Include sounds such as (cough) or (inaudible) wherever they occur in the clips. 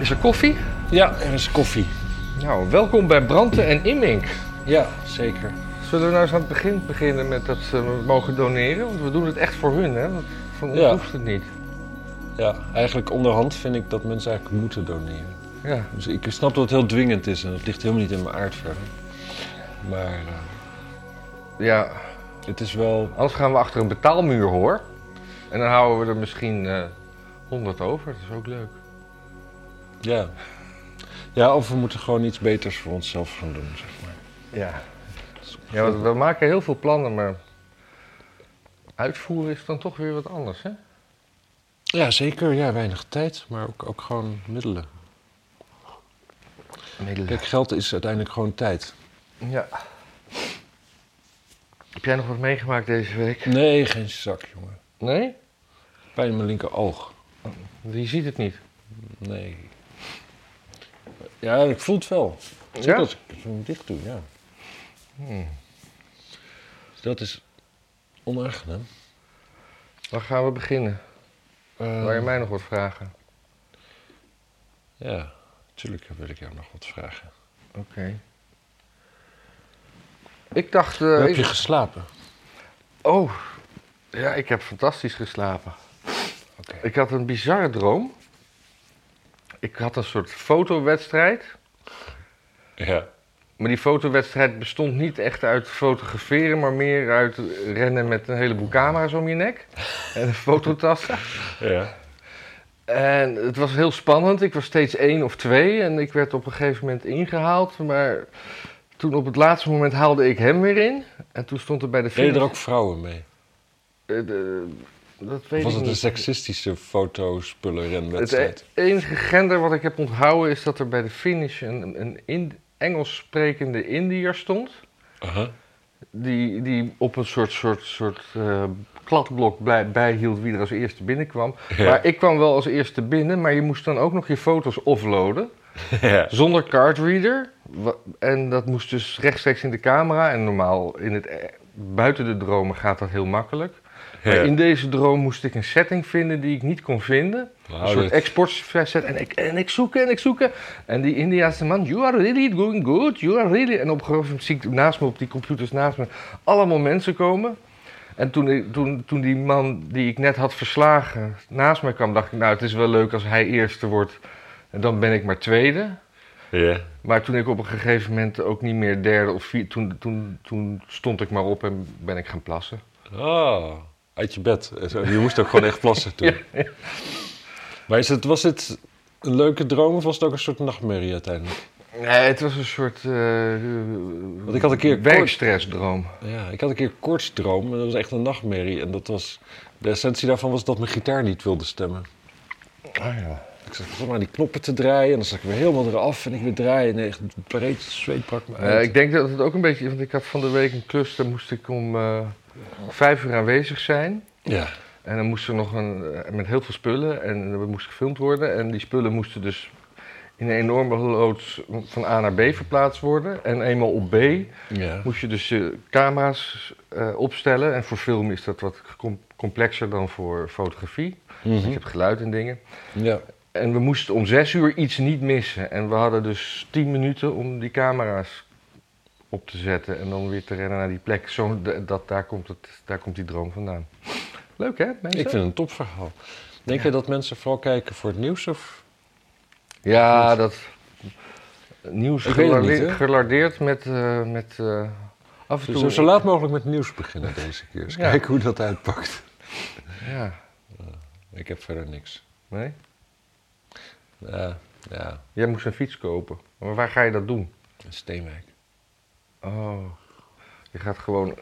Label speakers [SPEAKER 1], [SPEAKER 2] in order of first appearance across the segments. [SPEAKER 1] Is er koffie?
[SPEAKER 2] Ja, er is koffie.
[SPEAKER 1] Nou, welkom bij Branten en Immink.
[SPEAKER 2] Ja, zeker.
[SPEAKER 1] Zullen we nou eens aan het begin beginnen met dat ze mogen doneren? Want we doen het echt voor hun, hè? Want van ons
[SPEAKER 2] Ja.
[SPEAKER 1] hoeft het niet.
[SPEAKER 2] Ja, eigenlijk onderhand vind ik dat mensen eigenlijk moeten doneren.
[SPEAKER 1] Ja.
[SPEAKER 2] Dus ik snap dat het heel dwingend is en dat ligt helemaal niet in mijn aard verder. Maar eh,
[SPEAKER 1] ja,
[SPEAKER 2] het is wel...
[SPEAKER 1] anders gaan we achter een betaalmuur, hoor. En dan houden we er misschien eh 100 over. Dat is ook leuk.
[SPEAKER 2] Ja. ja, of we moeten gewoon iets beters voor onszelf gaan doen, zeg maar.
[SPEAKER 1] Ja. Ja, want we maken heel veel plannen, maar uitvoeren is dan toch weer wat anders, hè?
[SPEAKER 2] Ja, zeker. Ja, weinig tijd, maar ook, ook gewoon middelen.
[SPEAKER 1] Middelen.
[SPEAKER 2] Kijk, geld is uiteindelijk gewoon tijd.
[SPEAKER 1] Ja. Heb jij nog wat meegemaakt deze week?
[SPEAKER 2] Nee, geen zak, jongen.
[SPEAKER 1] Nee?
[SPEAKER 2] Pijn in mijn linker oog.
[SPEAKER 1] Je ziet het niet.
[SPEAKER 2] Nee. Ja, ik voel het wel.
[SPEAKER 1] Ja?
[SPEAKER 2] Dat ik hem dicht doe, ja. Hmm. Dus dat is onaangenaam.
[SPEAKER 1] Dan gaan we beginnen.
[SPEAKER 2] Eh,
[SPEAKER 1] Waar je mij nog wat vragen?
[SPEAKER 2] Ja, natuurlijk wil ik jou nog wat vragen.
[SPEAKER 1] Oké. Ik dacht... eh,
[SPEAKER 2] Hoe heb
[SPEAKER 1] ik-
[SPEAKER 2] je geslapen?
[SPEAKER 1] Oh, ja, ik heb fantastisch geslapen.
[SPEAKER 2] Oké.
[SPEAKER 1] Ik had een bizarre droom. Ik had een soort fotowedstrijd.
[SPEAKER 2] Ja.
[SPEAKER 1] Maar die fotowedstrijd bestond niet echt uit fotograferen, maar meer uit rennen met een heleboel camera's om je nek. En een fototassen.
[SPEAKER 2] ja.
[SPEAKER 1] En het was heel spannend. Ik was steeds één of twee en ik werd op een gegeven moment ingehaald. Maar toen op het laatste moment haalde ik hem weer in. En toen stond er bij de
[SPEAKER 2] Deden
[SPEAKER 1] finish...
[SPEAKER 2] er ook vrouwen mee?
[SPEAKER 1] eh, de- dat weet
[SPEAKER 2] Of was
[SPEAKER 1] ik
[SPEAKER 2] het een
[SPEAKER 1] niet.
[SPEAKER 2] seksistische
[SPEAKER 1] Het
[SPEAKER 2] fotospullenrenwedstrijd?
[SPEAKER 1] e- enige gender wat ik heb onthouden is dat er bij de finish een, een in, Engels sprekende Indiër stond.
[SPEAKER 2] Aha.
[SPEAKER 1] Die, die op een soort, soort, soort eh, kladblok blij- bijhield wie er als eerste binnenkwam.
[SPEAKER 2] Ja.
[SPEAKER 1] Maar ik kwam wel als eerste binnen, maar je moest dan ook nog je foto's offloaden.
[SPEAKER 2] ja.
[SPEAKER 1] Zonder cardreader. Wa- En dat moest dus rechtstreeks in de camera. En normaal in het, e- buiten de dromen gaat dat heel makkelijk. Maar
[SPEAKER 2] Ja.
[SPEAKER 1] in deze droom moest ik een setting vinden die ik niet kon vinden.
[SPEAKER 2] Wauw,
[SPEAKER 1] Een soort
[SPEAKER 2] dit-
[SPEAKER 1] exportset. En ik, en ik zoek en ik zoek. En die Indiaanse man, you are really going good, you are really. En op een gegeven moment zie ik naast me, op die computers naast me, allemaal mensen komen. En toen, ik- toen, toen die man die ik net had verslagen naast me kwam, dacht ik, nou het is wel leuk als hij eerste wordt. En dan ben ik maar tweede.
[SPEAKER 2] ja.
[SPEAKER 1] Maar toen ik op een gegeven moment ook niet meer derde of vier, toen, toen, toen stond ik maar op en ben ik gaan plassen.
[SPEAKER 2] Ah, uit je bed. Je moest ook gewoon echt plassen (laughs) toen. Maar is het, was het een leuke droom of was het ook een soort nachtmerrie uiteindelijk?
[SPEAKER 1] Nee, het was een soort eh
[SPEAKER 2] Want ik had een keer kort-
[SPEAKER 1] werkstressdroom.
[SPEAKER 2] Ja, ik had een keer koortsdroom en dat was echt een nachtmerrie. En dat was, de essentie daarvan was dat mijn gitaar niet wilde stemmen.
[SPEAKER 1] Ah ja.
[SPEAKER 2] Ik zat gewoon aan die knoppen te draaien en dan zat ik weer helemaal eraf en ik weer draaien. En echt breed zweet brak me uit.
[SPEAKER 1] Eh, ik denk dat het ook een beetje, want ik had van de week een klus, daar moest ik om eh, vijf uur aanwezig zijn.
[SPEAKER 2] Ja,
[SPEAKER 1] En dan moest er nog een, eh, met heel veel spullen en er moest gefilmd worden. En die spullen moesten dus in een enorme loods van A naar B verplaatst worden. En eenmaal op B
[SPEAKER 2] ja.
[SPEAKER 1] Moest je dus je camera's eh, opstellen. En voor film is dat wat com- complexer dan voor fotografie. Want
[SPEAKER 2] Mhm.
[SPEAKER 1] je hebt geluid en dingen.
[SPEAKER 2] ja.
[SPEAKER 1] En we moesten om zes uur iets niet missen. En we hadden dus tien minuten om die camera's op te zetten. En dan weer te rennen naar die plek. Zo, d- dat, daar, komt het, daar komt die droom vandaan. Leuk hè, mensen?
[SPEAKER 2] Ik vind het een topverhaal. Denk je dat mensen vooral kijken voor het nieuws? Of?
[SPEAKER 1] Ja, dat nieuws
[SPEAKER 2] Ik weet het niet,
[SPEAKER 1] gelardeerd,
[SPEAKER 2] hè? Dus
[SPEAKER 1] gelardeerd met... eh, met eh, af en toe...
[SPEAKER 2] Zo, zo laat mogelijk met nieuws beginnen deze keer. Eens
[SPEAKER 1] Ja.
[SPEAKER 2] kijken hoe dat uitpakt.
[SPEAKER 1] Ja,
[SPEAKER 2] Ik heb verder niks.
[SPEAKER 1] nee?
[SPEAKER 2] Ja, ja,
[SPEAKER 1] Jij moest een fiets kopen. Maar waar ga je dat doen?
[SPEAKER 2] een steenwijk.
[SPEAKER 1] Oh. Je gaat gewoon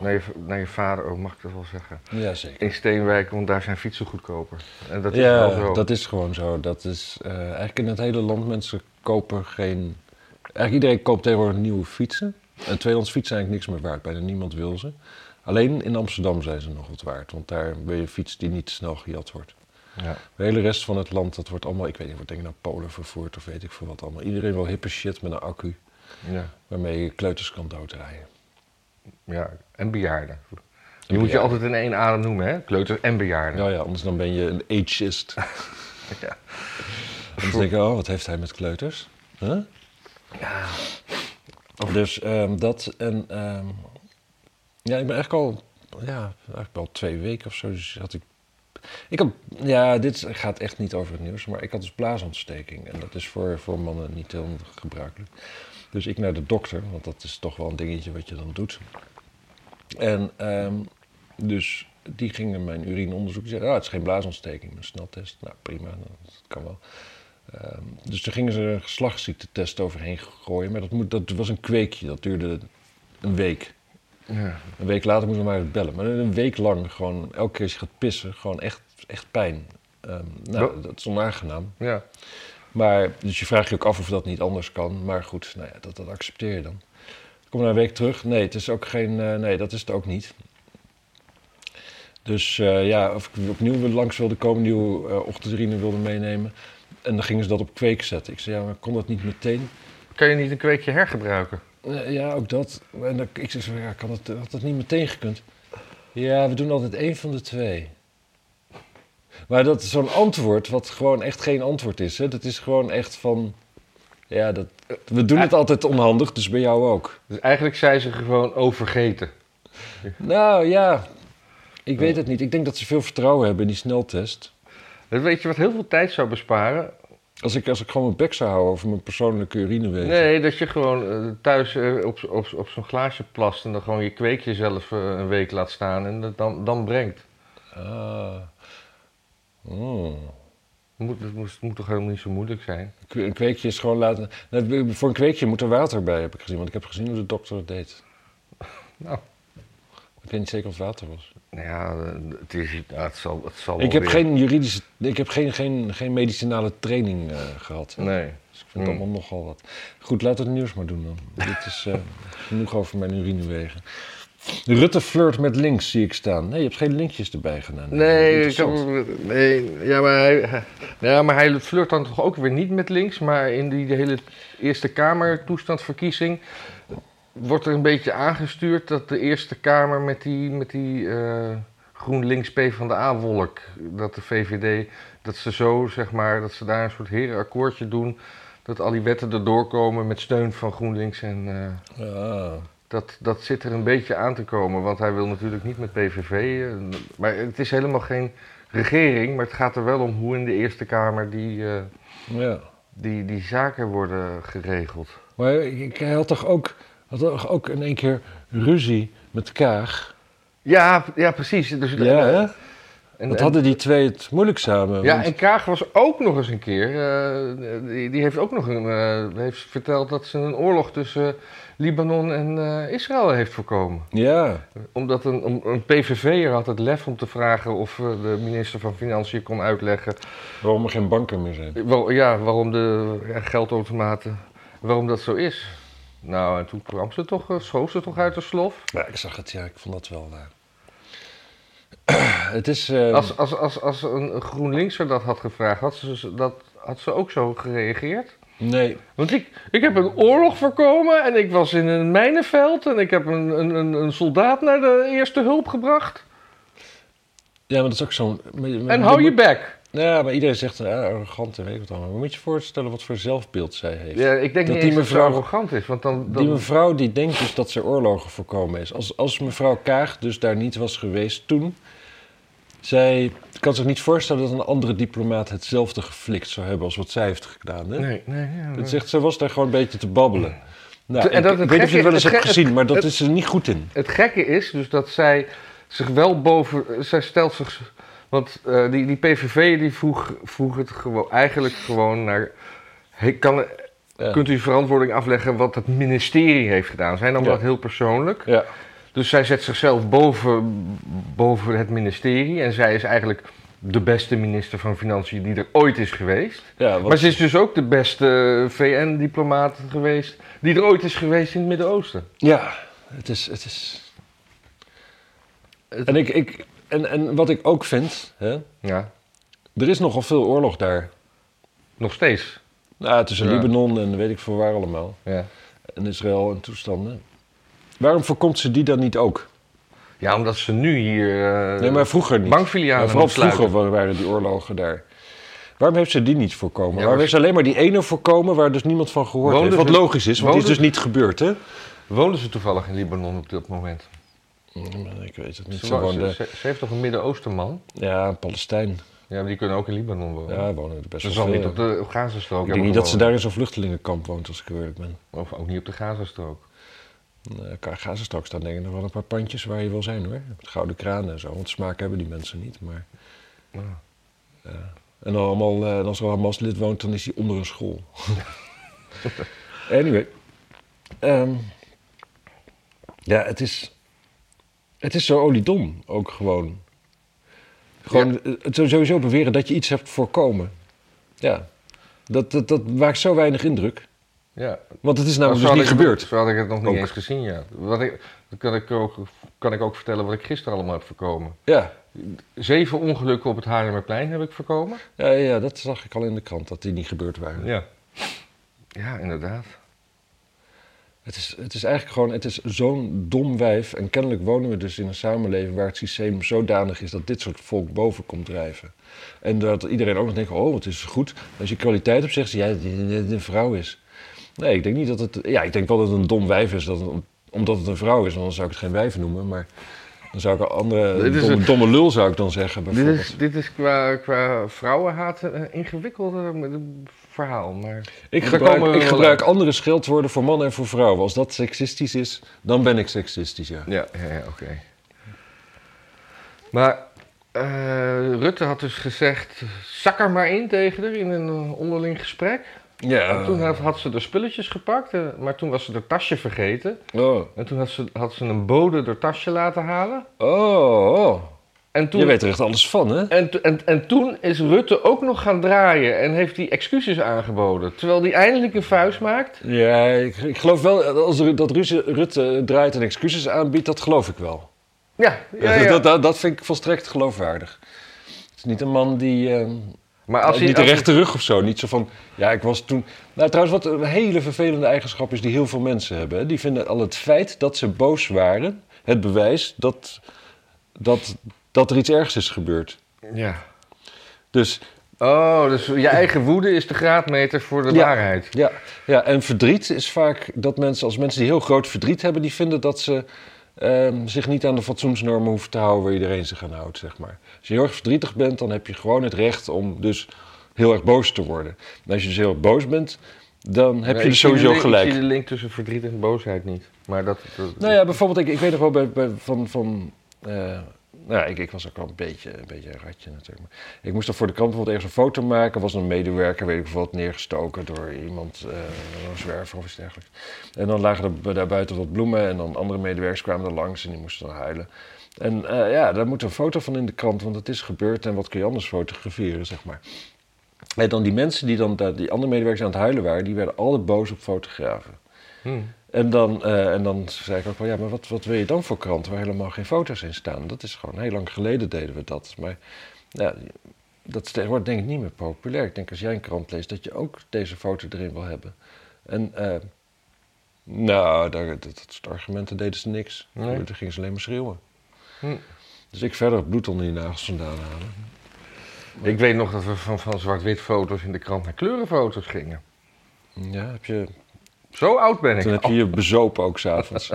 [SPEAKER 1] naar je, naar je vader, oh, mag ik dat wel zeggen?
[SPEAKER 2] Ja, zeker.
[SPEAKER 1] In Steenwijk, want daar zijn fietsen goedkoper. En dat is
[SPEAKER 2] ja,
[SPEAKER 1] wel zo.
[SPEAKER 2] dat is gewoon zo. Dat is eh, eigenlijk in het hele land mensen kopen geen. Eigenlijk iedereen koopt tegenwoordig nieuwe fietsen. En tweedehands fietsen zijn eigenlijk niks meer waard. Bijna niemand wil ze. Alleen in Amsterdam zijn ze nog wat waard. Want daar ben je een fiets die niet snel gejat wordt.
[SPEAKER 1] Ja.
[SPEAKER 2] De hele rest van het land, dat wordt allemaal, ik weet niet, wordt denk ik naar Polen vervoerd of weet ik veel wat allemaal. Iedereen wil hippe shit met een accu
[SPEAKER 1] Ja.
[SPEAKER 2] waarmee je kleuters kan doodrijden.
[SPEAKER 1] ja, en bejaarden. Die moet je
[SPEAKER 2] bejaarden.
[SPEAKER 1] altijd in één adem noemen, hè? Kleuters en bejaarden.
[SPEAKER 2] Nou ja, anders dan ben je een ageist.
[SPEAKER 1] Ja.
[SPEAKER 2] En dan denk ik, oh, wat heeft hij met kleuters? Huh?
[SPEAKER 1] Ja.
[SPEAKER 2] Dus ehm, dat en... ehm, ja, ik ben eigenlijk al... Ja, eigenlijk wel twee weken of zo dus had ik... Ik had, ja, dit gaat echt niet over het nieuws, maar ik had dus blaasontsteking. En dat is voor, voor mannen niet heel gebruikelijk. Dus ik naar de dokter, want dat is toch wel een dingetje wat je dan doet. En ehm, dus die gingen mijn urineonderzoek die zeggen, ah, het is geen blaasontsteking, een sneltest. Nou, prima, dat kan wel. Ehm, dus toen gingen ze een geslachtsziektetest overheen gooien, maar dat, moet, dat was een kweekje, dat duurde een week.
[SPEAKER 1] Ja.
[SPEAKER 2] Een week later moesten we maar eens bellen. Maar een week lang gewoon, elke keer als je gaat pissen, gewoon echt, echt pijn. Ehm, nou,
[SPEAKER 1] Wel-
[SPEAKER 2] dat is onaangenaam.
[SPEAKER 1] ja.
[SPEAKER 2] Maar, dus je vraagt je ook af of dat niet anders kan. Maar goed, nou ja, dat, dat accepteer je dan. Ik kom na een week terug. Nee, het is ook geen, eh, nee, dat is het ook niet. Dus eh, ja, of ik opnieuw weer langs wilde komen, nieuwe eh ochtendurine wilde meenemen. En dan gingen ze dat op kweek zetten. Ik zei, ja, maar kon dat niet meteen?
[SPEAKER 1] Kan je niet een kweekje hergebruiken?
[SPEAKER 2] Eh, ja, ook dat. En dan, ik zei, zo, ja, kan dat, had dat niet meteen gekund? Ja, we doen altijd één van de twee. Maar dat is zo'n antwoord wat gewoon echt geen antwoord is. Hè? Dat is gewoon echt van... Ja, dat, we doen het altijd onhandig, dus bij jou ook.
[SPEAKER 1] Dus eigenlijk zijn ze gewoon overgeten.
[SPEAKER 2] Nou ja, ik weet het niet. Ik denk dat ze veel vertrouwen hebben in die sneltest.
[SPEAKER 1] Dat weet je wat heel veel tijd zou besparen?
[SPEAKER 2] Als ik, als ik gewoon mijn bek zou houden over mijn persoonlijke urinewegen.
[SPEAKER 1] Nee, dat je gewoon eh, thuis eh, op, op, op zo'n glaasje plast en dan gewoon je kweekje zelf eh, een week laat staan en dat dan, dan brengt.
[SPEAKER 2] Ah. Hmm.
[SPEAKER 1] Het moet, het, moest- het moet toch helemaal niet zo moeilijk zijn?
[SPEAKER 2] Kwe- Een kweekje is gewoon laten. Nou, Voor een kweekje moet er water bij, heb ik gezien. Want ik heb gezien hoe de dokter het deed.
[SPEAKER 1] Nou.
[SPEAKER 2] Ik weet niet zeker of het water was.
[SPEAKER 1] Nou ja, eh, het, is, nou, het zal, het zal wel
[SPEAKER 2] ik heb
[SPEAKER 1] weer-
[SPEAKER 2] geen juridische. Ik heb geen, geen, geen medicinale training eh, gehad.
[SPEAKER 1] Nee.
[SPEAKER 2] Dus ik vind het
[SPEAKER 1] Mm.
[SPEAKER 2] allemaal nogal wat. Goed, laten we het nieuws maar doen
[SPEAKER 1] (laughs)
[SPEAKER 2] dan. Dit is eh, genoeg over mijn urinewegen. Rutte flirt met links, zie ik staan. Nee, je hebt geen linkjes erbij gedaan.
[SPEAKER 1] Nee, ik
[SPEAKER 2] Interessant.
[SPEAKER 1] heb- nee ja, maar hij, nou ja, maar hij flirt dan toch ook weer niet met links. Maar in die hele Eerste Kamer toestandverkiezing wordt er een beetje aangestuurd dat de Eerste Kamer met die, met die eh GroenLinks PvdA-wolk, dat de VVD, dat ze zo zeg maar, dat ze daar een soort herenakkoordje doen. Dat al die wetten erdoor komen met steun van GroenLinks. En eh,
[SPEAKER 2] Ah.
[SPEAKER 1] dat, dat zit er een beetje aan te komen. Want hij wil natuurlijk niet met PVV. eh, maar het is helemaal geen regering. Maar het gaat er wel om hoe in de Eerste Kamer die, eh,
[SPEAKER 2] Ja.
[SPEAKER 1] die, die zaken worden geregeld.
[SPEAKER 2] Maar ik, ik- hij had toch ook, had toch ook in één keer ruzie met Kaag.
[SPEAKER 1] Ja, ja precies. Dus,
[SPEAKER 2] Ja, hè?
[SPEAKER 1] en,
[SPEAKER 2] Wat
[SPEAKER 1] en-
[SPEAKER 2] hadden die twee het moeilijk samen?
[SPEAKER 1] ja,
[SPEAKER 2] want-
[SPEAKER 1] en Kaag was ook nog eens een keer. eh, die, die heeft ook nog een, eh, heeft verteld dat ze een oorlog tussen Libanon en eh, Israël heeft voorkomen.
[SPEAKER 2] ja.
[SPEAKER 1] Omdat een, om- een PVV'er had het lef om te vragen of eh, de minister van Financiën kon uitleggen
[SPEAKER 2] waarom er geen banken meer zijn.
[SPEAKER 1] Wel, ja, waarom de ja, geldautomaten, waarom dat zo is. Nou, en toen kwam ze toch, eh, schoof ze toch uit de slof.
[SPEAKER 2] Ja, ik zag het, ja, ik vond dat wel. eh, (clears throat) het is. eh,
[SPEAKER 1] Als, als, als, als een GroenLinkser dat had gevraagd, had ze, ze- dat, had ze ook zo gereageerd?
[SPEAKER 2] Nee,
[SPEAKER 1] Want ik, ik heb een oorlog voorkomen en ik was in een mijnenveld en ik heb een, een, een, een soldaat naar de eerste hulp gebracht.
[SPEAKER 2] ja, maar dat is ook zo'n. maar- maar-
[SPEAKER 1] En hou je
[SPEAKER 2] moet-
[SPEAKER 1] bek.
[SPEAKER 2] Ja, maar iedereen zegt ja, arrogant en weet ik wat allemaal. Maar moet je je voorstellen wat voor zelfbeeld zij heeft?
[SPEAKER 1] Ja, ik denk niet
[SPEAKER 2] Dat die
[SPEAKER 1] eens dat ze
[SPEAKER 2] mevrouw-
[SPEAKER 1] arrogant is, want dan... dan
[SPEAKER 2] Die mevrouw die denkt dus dat ze oorlogen voorkomen is. Als, als mevrouw Kaag dus daar niet was geweest toen. Zij kan zich niet voorstellen dat een andere diplomaat hetzelfde geflikt zou hebben als wat zij heeft gedaan. Hè?
[SPEAKER 1] nee, nee, ja,
[SPEAKER 2] Het zegt, ze was daar gewoon een beetje te babbelen. Nou,
[SPEAKER 1] En dat
[SPEAKER 2] ik
[SPEAKER 1] het
[SPEAKER 2] weet niet of
[SPEAKER 1] gek
[SPEAKER 2] je het wel eens
[SPEAKER 1] is- het
[SPEAKER 2] hebt
[SPEAKER 1] gek-
[SPEAKER 2] gezien, maar dat
[SPEAKER 1] het-
[SPEAKER 2] is er niet goed in.
[SPEAKER 1] Het gekke is dus dat zij zich wel boven. Zij stelt zich. Want eh, die, die PVV die vroeg, vroeg het gewoon, eigenlijk gewoon naar. Hey, kan,
[SPEAKER 2] Ja.
[SPEAKER 1] Kunt u verantwoording afleggen wat het ministerie heeft gedaan? Zij nam
[SPEAKER 2] Ja.
[SPEAKER 1] dat heel persoonlijk.
[SPEAKER 2] Ja.
[SPEAKER 1] Dus zij zet zichzelf boven, boven het ministerie. En zij is eigenlijk de beste minister van Financiën die er ooit is geweest.
[SPEAKER 2] Ja, want-
[SPEAKER 1] Maar ze is dus ook de beste VN-diplomaat geweest die er ooit is geweest in het Midden-Oosten.
[SPEAKER 2] ja het is... Het is...
[SPEAKER 1] Het-
[SPEAKER 2] En, ik, ik, en, en wat ik ook vind, hè,
[SPEAKER 1] Ja,
[SPEAKER 2] er is nogal veel oorlog daar.
[SPEAKER 1] nog steeds.
[SPEAKER 2] Nou, tussen
[SPEAKER 1] Ja.
[SPEAKER 2] Libanon en weet ik veel waar allemaal.
[SPEAKER 1] Ja.
[SPEAKER 2] En Israël en toestanden. Waarom voorkomt ze die dan niet ook?
[SPEAKER 1] Ja, omdat ze nu hier eh
[SPEAKER 2] Nee, maar vroeger niet.
[SPEAKER 1] bankfilialen
[SPEAKER 2] Ja, vooral
[SPEAKER 1] moeten sluiten.
[SPEAKER 2] vroeger wa- waren die oorlogen daar. Waarom heeft ze die niet voorkomen?
[SPEAKER 1] Ja,
[SPEAKER 2] Waarom heeft ze alleen maar die ene voorkomen waar dus niemand van gehoord
[SPEAKER 1] Woonden
[SPEAKER 2] heeft? Wat
[SPEAKER 1] ze-
[SPEAKER 2] logisch is, want die is dus
[SPEAKER 1] woonden-
[SPEAKER 2] niet gebeurd, hè?
[SPEAKER 1] Wonen ze toevallig in Libanon op dat moment? Mm,
[SPEAKER 2] Ik weet het niet.
[SPEAKER 1] Ze,
[SPEAKER 2] Ze
[SPEAKER 1] wo-
[SPEAKER 2] woonden-
[SPEAKER 1] ze- ze- ze heeft toch een Midden-Oostenman?
[SPEAKER 2] ja, Palestijn.
[SPEAKER 1] Ja, maar die kunnen ook in Libanon wonen.
[SPEAKER 2] Ja, wonen er best
[SPEAKER 1] ze
[SPEAKER 2] wel
[SPEAKER 1] zal
[SPEAKER 2] veel.
[SPEAKER 1] niet op de op Gazastrook
[SPEAKER 2] eh, ik denk
[SPEAKER 1] hebben
[SPEAKER 2] niet dat ze
[SPEAKER 1] gewoond.
[SPEAKER 2] daar in zo'n vluchtelingenkamp woont, als ik eerlijk ben.
[SPEAKER 1] Of ook niet op de Gazastrook.
[SPEAKER 2] Nee, eh, Ka- Gazastrook staan denk ik nog wel een paar pandjes waar je wil zijn, hoor. Met gouden kranen en zo, want smaak hebben die mensen niet, maar...
[SPEAKER 1] Ja.
[SPEAKER 2] ja. En dan allemaal, eh, als er een Hamas-lid woont, dan is hij onder een school. anyway. Ehm, ja, het is... Het is zo oliedom, ook gewoon. Gewoon eh, het sowieso beweren dat je iets hebt voorkomen. Ja. Dat, dat, dat maakt zo weinig indruk.
[SPEAKER 1] Ja,
[SPEAKER 2] Want het is
[SPEAKER 1] Nou,
[SPEAKER 2] namelijk dus niet gebeurd.
[SPEAKER 1] Zo had ik het nog niet
[SPEAKER 2] Ook.
[SPEAKER 1] eens gezien, ja. Wat ik, dan kan, ik ook, kan ik ook vertellen wat ik gisteren allemaal heb voorkomen.
[SPEAKER 2] Ja.
[SPEAKER 1] Zeven ongelukken op het Haarlemmerplein heb ik voorkomen.
[SPEAKER 2] Ja, ja, dat zag ik al in de krant, dat die niet gebeurd waren.
[SPEAKER 1] Ja. Ja, inderdaad.
[SPEAKER 2] Het, is, het is eigenlijk gewoon, het is zo'n dom wijf. En kennelijk wonen we dus in een samenleving waar het systeem zodanig is dat dit soort volk boven komt drijven. En dat iedereen ook nog denkt, oh, het is goed. Als je kwaliteit op zegt, ja, dat een vrouw is. Nee, ik denk niet dat het, ja, ik denk wel dat het een dom wijf is, dat het- omdat het een vrouw is. Want dan zou ik het geen wijf noemen, maar dan zou ik een andere,
[SPEAKER 1] Dit is
[SPEAKER 2] domme,
[SPEAKER 1] een-
[SPEAKER 2] domme lul zou ik dan zeggen
[SPEAKER 1] Dit
[SPEAKER 2] bijvoorbeeld.
[SPEAKER 1] is, dit is qua, qua vrouwenhaat een ingewikkeld eh, met een verhaal, maar...
[SPEAKER 2] Ik
[SPEAKER 1] Daar
[SPEAKER 2] gebruik,
[SPEAKER 1] komen we
[SPEAKER 2] ik
[SPEAKER 1] wel
[SPEAKER 2] gebruik andere scheldwoorden voor mannen en voor vrouwen. Als dat seksistisch is, dan ben ik seksistisch, ja.
[SPEAKER 1] Ja, ja, ja, oké. Maar eh, Rutte had dus gezegd, zak er maar in tegen haar in een eh, onderling gesprek.
[SPEAKER 2] Ja.
[SPEAKER 1] En toen had, had ze de spulletjes gepakt, eh, maar toen was ze haar tasje vergeten.
[SPEAKER 2] Oh,
[SPEAKER 1] En toen had ze, had ze een bode haar tasje laten halen.
[SPEAKER 2] oh, oh.
[SPEAKER 1] En toen,
[SPEAKER 2] Je weet er echt alles van, hè?
[SPEAKER 1] en, to- en, en toen is Rutte ook nog gaan draaien en heeft hij excuses aangeboden. Terwijl hij eindelijk een vuist maakt.
[SPEAKER 2] Ja, ik, ik geloof wel eh, als Ru- dat Ruze- Rutte draait en excuses aanbiedt, dat geloof ik wel.
[SPEAKER 1] Ja, ja, ja.
[SPEAKER 2] (laughs) Dat, dat, dat vind ik volstrekt geloofwaardig. Het is niet een man die. eh,
[SPEAKER 1] maar als hij,
[SPEAKER 2] niet de
[SPEAKER 1] als hij-
[SPEAKER 2] rechte rug of zo. Niet zo van. Ja, ik was toen. Nou, trouwens, wat een hele vervelende eigenschap is die heel veel mensen hebben. Hè? Die vinden al het feit dat ze boos waren. het bewijs dat, dat, dat er iets ergs is gebeurd.
[SPEAKER 1] Ja.
[SPEAKER 2] Dus
[SPEAKER 1] Oh, dus je eigen woede is de graadmeter voor de
[SPEAKER 2] Ja.
[SPEAKER 1] waarheid.
[SPEAKER 2] Ja, ja, en verdriet is vaak dat mensen, als mensen die heel groot verdriet hebben, die vinden dat ze ehm, zich niet aan de fatsoensnormen hoeven te houden waar iedereen zich aan houdt, zeg maar. Als je heel erg verdrietig bent, dan heb je gewoon het recht om dus heel erg boos te worden. En als je dus heel erg boos bent, dan heb
[SPEAKER 1] Nee,
[SPEAKER 2] je
[SPEAKER 1] Eh, ik
[SPEAKER 2] dus
[SPEAKER 1] zie de
[SPEAKER 2] sowieso
[SPEAKER 1] link- Ik
[SPEAKER 2] gelijk.
[SPEAKER 1] zie de link tussen verdriet en boosheid niet. Maar dat... dat
[SPEAKER 2] Nou ja, bijvoorbeeld, ik, ik weet nog wel bij, bij- van. van eh, nou ja, ik, ik was ook wel een beetje, een beetje een ratje natuurlijk. Maar ik moest dan voor de krant bijvoorbeeld ergens een foto maken. Was een medewerker, weet ik veel wat, neergestoken door iemand, eh, een zwerver of iets dergelijks. En dan lagen er bu- daar buiten wat bloemen en dan andere medewerkers kwamen er langs en die moesten dan huilen. En eh, ja, daar moet een foto van in de krant, want het is gebeurd en wat kun je anders fotograferen, zeg maar. En dan die mensen die dan, daar- die andere medewerkers aan het huilen waren, die werden alle boos op fotografen.
[SPEAKER 1] Hm.
[SPEAKER 2] En dan, eh, en dan zei ik ook wel, ja, maar wat, wat wil je dan voor krant waar helemaal geen foto's in staan? Dat is gewoon, heel lang geleden deden we dat. Maar ja, dat is tegenwoordig denk ik niet meer populair. Ik denk als jij een krant leest, dat je ook deze foto erin wil hebben. En eh, nou, daar, dat, dat soort argumenten deden ze niks.
[SPEAKER 1] Nee.
[SPEAKER 2] Toen gingen ze alleen maar schreeuwen.
[SPEAKER 1] Hm.
[SPEAKER 2] Dus ik verder het bloed onder die nagels vandaan halen.
[SPEAKER 1] Ik weet nog dat we van, van zwart-wit foto's in de krant naar kleurenfoto's gingen.
[SPEAKER 2] Ja, heb je,
[SPEAKER 1] Zo oud ben ik.
[SPEAKER 2] toen heb je je bezopen
[SPEAKER 1] (laughs)
[SPEAKER 2] ook s'avonds.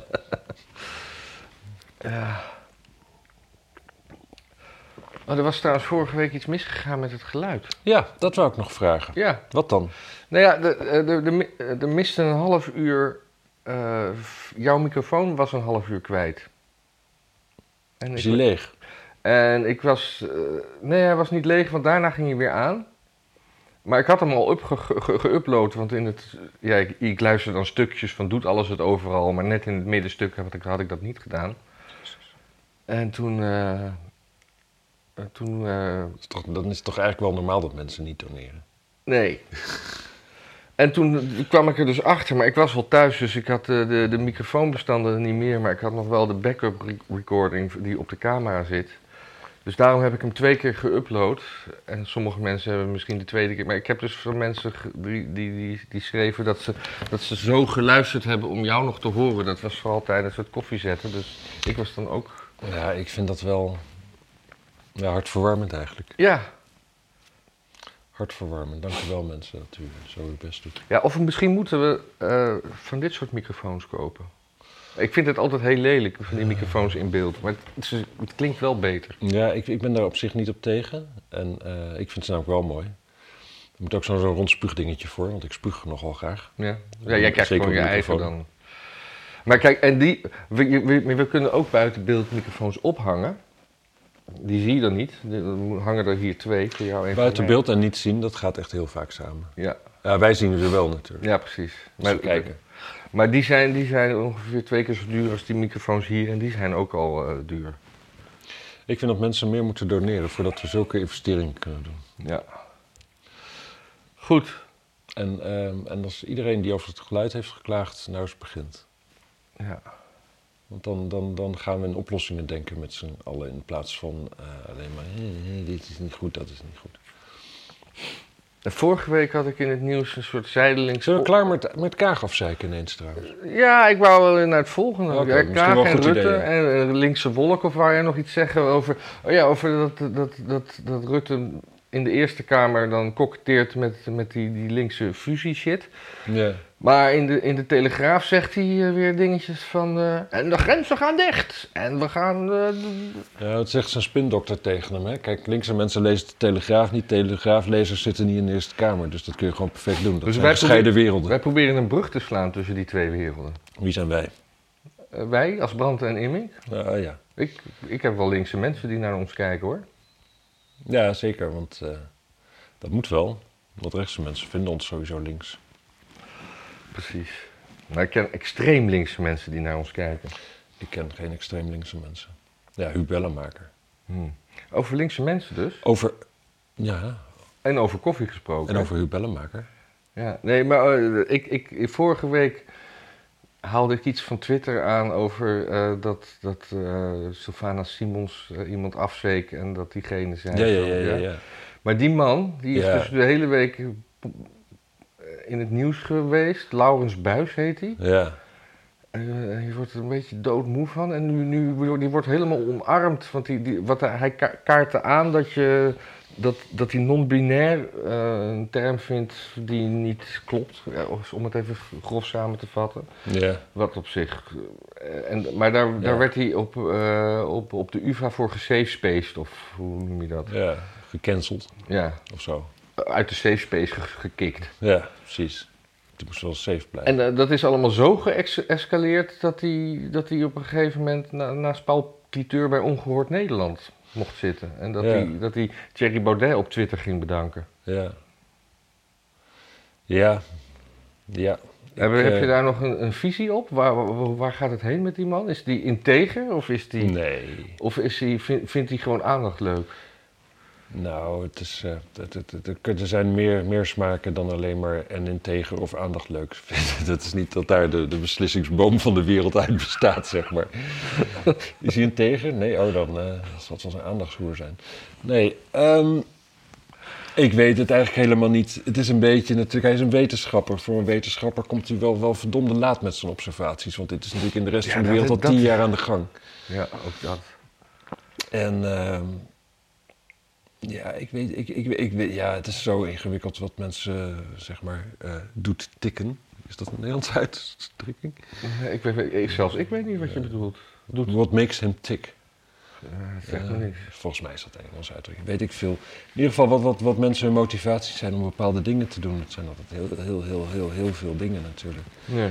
[SPEAKER 1] Oh, er was trouwens vorige week iets misgegaan met het geluid.
[SPEAKER 2] Ja, dat wou ik nog vragen.
[SPEAKER 1] Ja.
[SPEAKER 2] Wat dan?
[SPEAKER 1] Nou ja, de- eh, de- de mi- eh, er miste een half uur... eh, f- jouw microfoon was een half uur kwijt. En
[SPEAKER 2] Is
[SPEAKER 1] ik-
[SPEAKER 2] die leeg?
[SPEAKER 1] En ik was. eh, nee, hij was niet leeg, want daarna ging hij weer aan. Maar ik had hem al upge- ge- ge- geüpload, want in het. Ja, ik, ik luister dan stukjes van doet alles het overal, maar net in het middenstuk had ik, had ik dat niet gedaan. En toen. eh, eh, toen. eh,
[SPEAKER 2] Dus Dat is toch- Dan is het toch eigenlijk wel normaal dat mensen niet doneren.
[SPEAKER 1] nee. En toen kwam ik er dus achter, maar ik was wel thuis, dus ik had de, de, de microfoonbestanden niet meer, maar ik had nog wel de backup re- recording die op de camera zit. Dus daarom heb ik hem twee keer geüpload. En sommige mensen hebben misschien de tweede keer. Maar ik heb dus van mensen ge- die, die, die, die schreven dat ze, dat ze zo geluisterd hebben om jou nog te horen. Dat was vooral tijdens het koffiezetten. Dus ik was dan ook.
[SPEAKER 2] Ja, ik vind dat wel ja, hartverwarmend eigenlijk.
[SPEAKER 1] Ja,
[SPEAKER 2] hartverwarmend. Dankjewel mensen dat u zo uw best doet.
[SPEAKER 1] Ja, of misschien moeten we eh, van dit soort microfoons kopen. Ik vind het altijd heel lelijk, van die microfoons in beeld. Maar het, is- het klinkt wel beter.
[SPEAKER 2] Ja, ik, ik ben daar op zich niet op tegen. En eh, ik vind ze namelijk wel mooi. Er moet ook zo'n zo'n rond spuugdingetje voor, want ik spuug nogal graag.
[SPEAKER 1] Ja, ja jij krijgt
[SPEAKER 2] Zeker
[SPEAKER 1] gewoon je
[SPEAKER 2] een
[SPEAKER 1] eigen
[SPEAKER 2] microfoon.
[SPEAKER 1] dan. Maar kijk, en die, we, we, we kunnen ook buiten beeld microfoons ophangen. Die zie je dan niet. Er hangen er hier twee voor jou en voor
[SPEAKER 2] Buiten
[SPEAKER 1] mij.
[SPEAKER 2] beeld en niet zien, dat gaat echt heel vaak samen.
[SPEAKER 1] Ja,
[SPEAKER 2] Ja, wij zien ze wel natuurlijk.
[SPEAKER 1] ja precies.
[SPEAKER 2] Maar kijken.
[SPEAKER 1] Maar die zijn, die zijn ongeveer twee keer zo duur als die microfoons hier. En die zijn ook al eh, duur.
[SPEAKER 2] Ik vind dat mensen meer moeten doneren voordat we zulke investeringen kunnen doen.
[SPEAKER 1] Ja. Goed.
[SPEAKER 2] En, ehm, en als iedereen die over het geluid heeft geklaagd, nou eens begint.
[SPEAKER 1] Ja.
[SPEAKER 2] Want dan, dan, dan gaan we in oplossingen denken met z'n allen. In plaats van eh, alleen maar, "Hé, hé, dit is niet goed, dat is niet goed.
[SPEAKER 1] En Eh, Vorige week had ik in het nieuws een soort zijdelings...
[SPEAKER 2] Zullen we klaar met, met Kaag afzeiken ineens trouwens?
[SPEAKER 1] Ja, ik wou wel naar het volgende.
[SPEAKER 2] Oké,
[SPEAKER 1] ja,
[SPEAKER 2] misschien
[SPEAKER 1] Kaag
[SPEAKER 2] wel een
[SPEAKER 1] en
[SPEAKER 2] goed
[SPEAKER 1] Rutte
[SPEAKER 2] idee, ja.
[SPEAKER 1] en eh, Linkse Wolk, of waar jij nog iets zeggen over... Oh ja, over dat, dat, dat, dat Rutte in de Eerste Kamer dan koketteert met, met die, die linkse fusie-shit.
[SPEAKER 2] Ja.
[SPEAKER 1] Maar in de, in de Telegraaf zegt hij eh, weer dingetjes van... eh, en de grenzen gaan dicht! En we gaan... eh, d-
[SPEAKER 2] Ja, dat zegt zijn spindokter tegen hem. Hè? Kijk, linkse mensen lezen de Telegraaf niet. Telegraaflezers zitten niet in de Eerste Kamer. Dus dat kun je gewoon perfect doen. Dat
[SPEAKER 1] Dus
[SPEAKER 2] zijn
[SPEAKER 1] wij
[SPEAKER 2] gescheiden werelden.
[SPEAKER 1] Wij proberen een brug te slaan tussen die twee werelden.
[SPEAKER 2] Wie zijn wij?
[SPEAKER 1] Eh, wij, als Brandt en Immink.
[SPEAKER 2] Ah, ja.
[SPEAKER 1] Ik, ik heb wel linkse mensen die naar ons kijken, hoor.
[SPEAKER 2] ja, zeker. Want eh, dat moet wel. Want rechtse mensen vinden ons sowieso links.
[SPEAKER 1] Precies. Maar ik ken extreem linkse mensen die naar ons kijken.
[SPEAKER 2] Ik ken geen extreem linkse mensen. Ja, Huub Bellenmaker.
[SPEAKER 1] Hmm. Over linkse mensen dus.
[SPEAKER 2] Over... Ja,
[SPEAKER 1] En over koffie gesproken.
[SPEAKER 2] en over Huub Bellenmaker.
[SPEAKER 1] Ja, nee, maar eh, ik, ik, vorige week haalde ik iets van Twitter aan over eh, dat, dat eh, Sylvana Simons eh, iemand afzeek en dat diegene
[SPEAKER 2] Ja,
[SPEAKER 1] zei...
[SPEAKER 2] ja,
[SPEAKER 1] van,
[SPEAKER 2] ja, ja.
[SPEAKER 1] ja.
[SPEAKER 2] ja.
[SPEAKER 1] Maar die man, die is
[SPEAKER 2] Ja.
[SPEAKER 1] dus de hele week eh, in het nieuws geweest. Laurens Buis heet hij.
[SPEAKER 2] ja.
[SPEAKER 1] Eh, je wordt er een beetje doodmoe van. En nu, nu die wordt helemaal omarmd. Want die, die, wat eh, hij, hij ka- kaartte aan dat je. Dat, dat hij non-binair eh, een term vindt die niet klopt, Ja, of- om het even grof samen te vatten.
[SPEAKER 2] ja.
[SPEAKER 1] Wat op zich. eh, en, maar daar, daar
[SPEAKER 2] Ja.
[SPEAKER 1] werd hij op, eh, op, op de UVA voor gesafespaced, of hoe noem je dat?
[SPEAKER 2] ja. Gecanceld
[SPEAKER 1] Ja,
[SPEAKER 2] of zo.
[SPEAKER 1] uit de safe space ge- gekikt.
[SPEAKER 2] Ja, precies. Het moest wel safe blijven.
[SPEAKER 1] En eh, dat is allemaal zo geëscaleerd dat hij, dat hij op een gegeven moment na, naast Paul Cliteur bij Ongehoord Nederland mocht zitten. En dat,
[SPEAKER 2] Ja.
[SPEAKER 1] hij, dat hij Thierry Baudet op Twitter ging bedanken.
[SPEAKER 2] Ja. Ja. Ja.
[SPEAKER 1] heb,
[SPEAKER 2] Ik,
[SPEAKER 1] heb
[SPEAKER 2] eh,
[SPEAKER 1] je daar nog een, een visie op? Waar, waar, waar gaat het heen met die man? Is die integer of, is die,
[SPEAKER 2] Nee.
[SPEAKER 1] of is die, vind- vindt hij gewoon aandacht leuk?
[SPEAKER 2] Nou, het is, eh, het, het, het- het- er zijn meer, meer smaken dan alleen maar en integer of aandacht leuk. (laughs) dat is niet dat daar de, de beslissingsboom van de wereld uit bestaat, zeg maar. (laughs) is hij integer? Nee, oh, dan eh, zal het wel een aandachtshoer zijn. Nee, ehm, ik weet het eigenlijk helemaal niet. Het is een beetje, natuurlijk, hij is een wetenschapper. Voor een wetenschapper komt hij wel, wel verdomde laat met zijn observaties. Want dit is natuurlijk in de rest
[SPEAKER 1] Ja,
[SPEAKER 2] van de
[SPEAKER 1] dat-
[SPEAKER 2] wereld al
[SPEAKER 1] dat-
[SPEAKER 2] tien jaar aan de gang.
[SPEAKER 1] Ja, ook dat.
[SPEAKER 2] En ehm, ja, ik weet, ik, ik, ik weet, ja, het is zo ingewikkeld wat mensen, eh, zeg maar, eh, doet tikken. Is dat een Nederlands (laughs) uitdrukking?
[SPEAKER 1] Nee, Ik weet, ik, zelfs ik weet niet wat je bedoelt. Doet,
[SPEAKER 2] What makes him tick?
[SPEAKER 1] ja, het zegt me
[SPEAKER 2] Eh,
[SPEAKER 1] niks.
[SPEAKER 2] Volgens mij is dat een Engelse uitdrukking. Weet ik veel. In ieder geval wat, wat, wat mensen hun motivaties zijn om bepaalde dingen te doen. Het zijn altijd heel, heel, heel, heel, heel veel dingen natuurlijk.
[SPEAKER 1] Nee.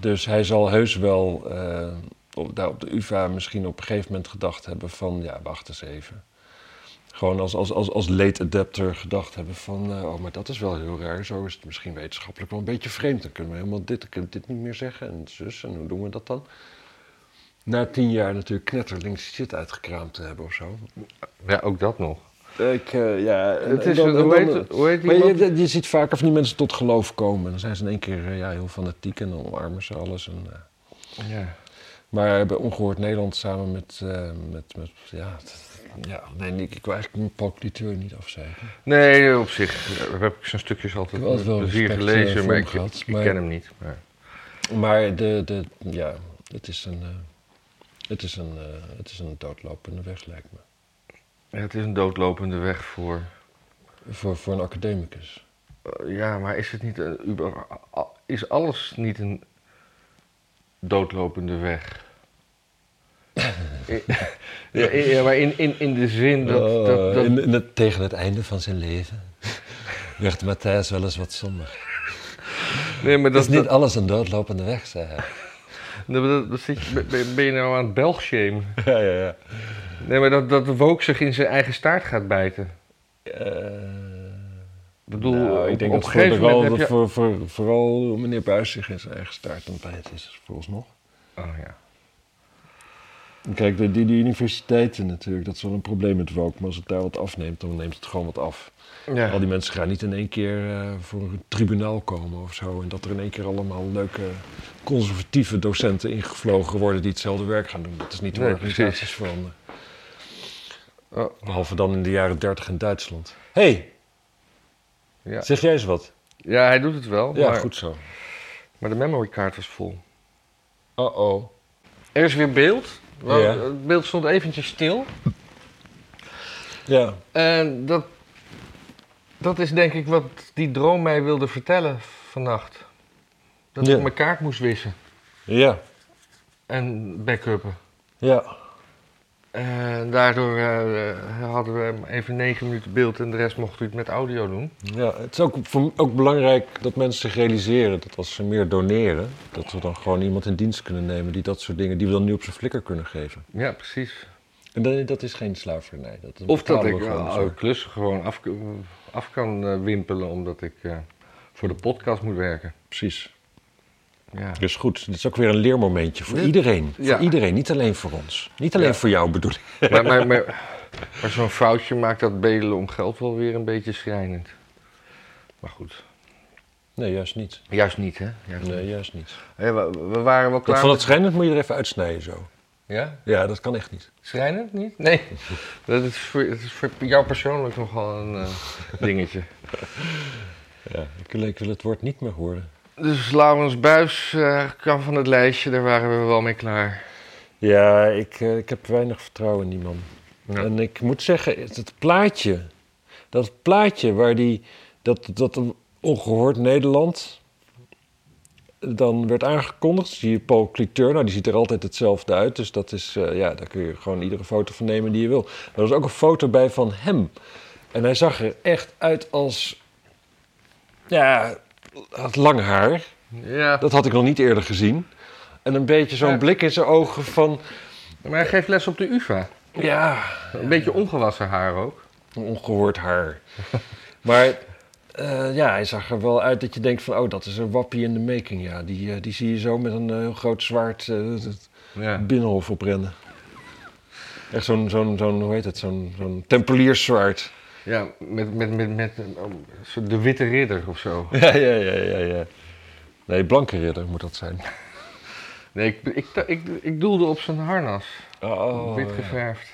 [SPEAKER 2] Dus hij zal heus wel eh, op, daar op de UvA misschien op een gegeven moment gedacht hebben van... ja, wacht eens even. Gewoon als, als, als, als late adapter gedacht hebben van... eh, oh, maar dat is wel heel raar. Zo is het misschien wetenschappelijk wel een beetje vreemd. Dan kunnen we helemaal dit, kunnen dit niet meer zeggen. En zus, en hoe doen we dat dan? Na tien jaar natuurlijk knetterlinks shit uitgekraamd te hebben of zo.
[SPEAKER 1] Ja, ook dat nog.
[SPEAKER 2] Ik, eh, ja... en-
[SPEAKER 1] Het
[SPEAKER 2] en
[SPEAKER 1] is,
[SPEAKER 2] dan- en
[SPEAKER 1] hoe,
[SPEAKER 2] dan-
[SPEAKER 1] heet, hoe heet die
[SPEAKER 2] maar
[SPEAKER 1] man?
[SPEAKER 2] je, je ziet vaker van die mensen tot geloof komen. Dan zijn ze in één keer eh, ja, heel fanatiek en dan omarmen ze alles. En, eh,
[SPEAKER 1] Ja.
[SPEAKER 2] maar bij Ongehoord Nederland samen met... eh, met, met ja, t- ja, nee, ik, ik wil eigenlijk mijn Paul Cliteur niet afzeggen.
[SPEAKER 1] Nee, op zich eh, heb ik zijn stukjes altijd
[SPEAKER 2] Ik heb
[SPEAKER 1] met
[SPEAKER 2] altijd wel
[SPEAKER 1] plezier
[SPEAKER 2] respect, eh,
[SPEAKER 1] gelezen,
[SPEAKER 2] voor
[SPEAKER 1] maar
[SPEAKER 2] hem
[SPEAKER 1] ik,
[SPEAKER 2] gehad,
[SPEAKER 1] ik
[SPEAKER 2] maar-
[SPEAKER 1] ken hem niet. Maar...
[SPEAKER 2] Maar de, de, ja, het is een... eh, het is, een, eh, het is een doodlopende weg, lijkt me.
[SPEAKER 1] Ja, het is een doodlopende weg voor
[SPEAKER 2] Voor, voor een academicus.
[SPEAKER 1] Eh, ja, maar is het niet een, uber- a- is alles niet een doodlopende weg?
[SPEAKER 2] (laughs)
[SPEAKER 1] ja, ja, maar in, in, in de zin dat... dat,
[SPEAKER 2] Oh,
[SPEAKER 1] dat
[SPEAKER 2] in- in het- tegen het einde van zijn leven (laughs) werd Matthijs wel eens wat somber.
[SPEAKER 1] nee, maar
[SPEAKER 2] Het
[SPEAKER 1] dat,
[SPEAKER 2] is niet
[SPEAKER 1] dat,
[SPEAKER 2] alles een doodlopende weg, zei
[SPEAKER 1] (laughs)
[SPEAKER 2] hij.
[SPEAKER 1] dat, dat- dat zit je- ben, ben je nou aan het belgshamen?
[SPEAKER 2] Ja, ja, ja.
[SPEAKER 1] Nee, maar dat, dat de woke zich in zijn eigen staart gaat bijten.
[SPEAKER 2] Eh,
[SPEAKER 1] Ik bedoel,
[SPEAKER 2] Nou, ik
[SPEAKER 1] op,
[SPEAKER 2] denk
[SPEAKER 1] op
[SPEAKER 2] dat
[SPEAKER 1] een gegeven
[SPEAKER 2] vooral,
[SPEAKER 1] moment heb je...
[SPEAKER 2] voor, voor, vooral meneer Buijs zich in zijn eigen staart aan het bijten is, vooralsnog.
[SPEAKER 1] Oh, ja.
[SPEAKER 2] Kijk, de, die, die universiteiten natuurlijk, dat is wel een probleem met woke. Maar als het daar wat afneemt, dan neemt het gewoon wat af.
[SPEAKER 1] Ja.
[SPEAKER 2] Al die mensen gaan niet in één keer eh, voor een tribunaal komen of zo. En dat er in één keer allemaal leuke conservatieve docenten ingevlogen worden die hetzelfde werk gaan doen. Dat is niet hoe
[SPEAKER 1] Nee,
[SPEAKER 2] organisaties
[SPEAKER 1] precies.
[SPEAKER 2] veranderen.
[SPEAKER 1] Oh.
[SPEAKER 2] Behalve dan in de jaren 30 in Duitsland. Hé, hey,
[SPEAKER 1] Ja.
[SPEAKER 2] zeg jij eens wat?
[SPEAKER 1] ja, hij doet het wel,
[SPEAKER 2] Ja,
[SPEAKER 1] maar,
[SPEAKER 2] goed zo.
[SPEAKER 1] maar de memorykaart was vol. Oh,
[SPEAKER 2] Oh-oh.
[SPEAKER 1] Er is weer beeld. Nou,
[SPEAKER 2] Ja.
[SPEAKER 1] Het beeld stond eventjes stil.
[SPEAKER 2] Ja,
[SPEAKER 1] En dat, dat is denk ik wat die droom mij wilde vertellen vannacht. Dat
[SPEAKER 2] Ja.
[SPEAKER 1] ik mijn kaart moest wissen
[SPEAKER 2] ja,
[SPEAKER 1] en backuppen.
[SPEAKER 2] ja.
[SPEAKER 1] En daardoor eh, hadden we even negen minuten beeld en de rest mocht u het met audio doen.
[SPEAKER 2] Ja, het is ook, voor- ook belangrijk dat mensen zich realiseren dat als ze meer doneren, dat we dan gewoon iemand in dienst kunnen nemen die dat soort dingen, die we dan nu op zijn flikker kunnen geven.
[SPEAKER 1] Ja, precies.
[SPEAKER 2] En dat, dat is geen slavernij. Dat
[SPEAKER 1] Of dat
[SPEAKER 2] betalen
[SPEAKER 1] ik
[SPEAKER 2] we gewoon
[SPEAKER 1] eh,
[SPEAKER 2] voor.
[SPEAKER 1] klussen gewoon af, eh, af kan eh, wimpelen omdat ik eh, voor de podcast moet werken.
[SPEAKER 2] Precies.
[SPEAKER 1] Ja.
[SPEAKER 2] Dus goed, dit is ook weer een leermomentje voor
[SPEAKER 1] Dit-
[SPEAKER 2] iedereen.
[SPEAKER 1] ja.
[SPEAKER 2] Voor iedereen, niet alleen voor ons. Niet alleen
[SPEAKER 1] Ja.
[SPEAKER 2] voor jou bedoel ik.
[SPEAKER 1] maar maar, maar, maar zo'n foutje maakt dat bedelen om geld wel weer een beetje schrijnend. Maar goed.
[SPEAKER 2] Nee, juist niet.
[SPEAKER 1] Juist niet, hè? Juist niet.
[SPEAKER 2] Nee, juist niet.
[SPEAKER 1] Hé, we, we waren wel
[SPEAKER 2] Dat
[SPEAKER 1] klaar.
[SPEAKER 2] van
[SPEAKER 1] met-
[SPEAKER 2] het schijnend moet je er even uitsnijden zo.
[SPEAKER 1] Ja?
[SPEAKER 2] Ja, dat kan echt niet.
[SPEAKER 1] Schrijnend niet? Nee. (laughs) Dat is voor, dat is voor jou persoonlijk nogal een eh, dingetje.
[SPEAKER 2] Ja, ik, ik wil het woord niet meer horen.
[SPEAKER 1] Dus Laurens Buis eh, kan van het lijstje, daar waren we wel mee klaar.
[SPEAKER 2] Ja, ik, eh, ik heb weinig vertrouwen in die man.
[SPEAKER 1] Ja.
[SPEAKER 2] En ik moet zeggen, het, het plaatje, dat plaatje waar die, dat, dat ongehoord Nederland eh, dan werd aangekondigd, zie je Paul Cliteur, nou die ziet er altijd hetzelfde uit, dus dat is, eh, ja, daar kun je gewoon iedere foto van nemen die je wil. Maar er was ook een foto bij van hem. En hij zag er echt uit als, ja, had lang haar.
[SPEAKER 1] Ja,
[SPEAKER 2] Dat had ik nog niet eerder gezien. En een beetje zo'n
[SPEAKER 1] Ja.
[SPEAKER 2] blik in zijn ogen van,
[SPEAKER 1] maar hij geeft les op de UvA.
[SPEAKER 2] ja,
[SPEAKER 1] Een beetje ongewassen haar ook.
[SPEAKER 2] Een ongehoord haar. (laughs) maar eh, ja, hij zag er wel uit dat je denkt van... oh, dat is een wappie in de making, ja. Die, eh, die zie je zo met een eh, heel groot zwaard eh, het- het
[SPEAKER 1] Ja.
[SPEAKER 2] binnenhof oprennen. Echt zo'n, zo'n, zo'n hoe heet het, zo'n, zo'n tempelierszwaard.
[SPEAKER 1] Ja, met, met, met, met eh, oh, zo de witte ridder of zo.
[SPEAKER 2] (laughs) Ja, ja, ja, ja, ja. Nee, blanke ridder moet dat zijn.
[SPEAKER 1] Nee, ik, ik, ik, ik, doelde op zijn harnas.
[SPEAKER 2] Oh,
[SPEAKER 1] wit geverfd.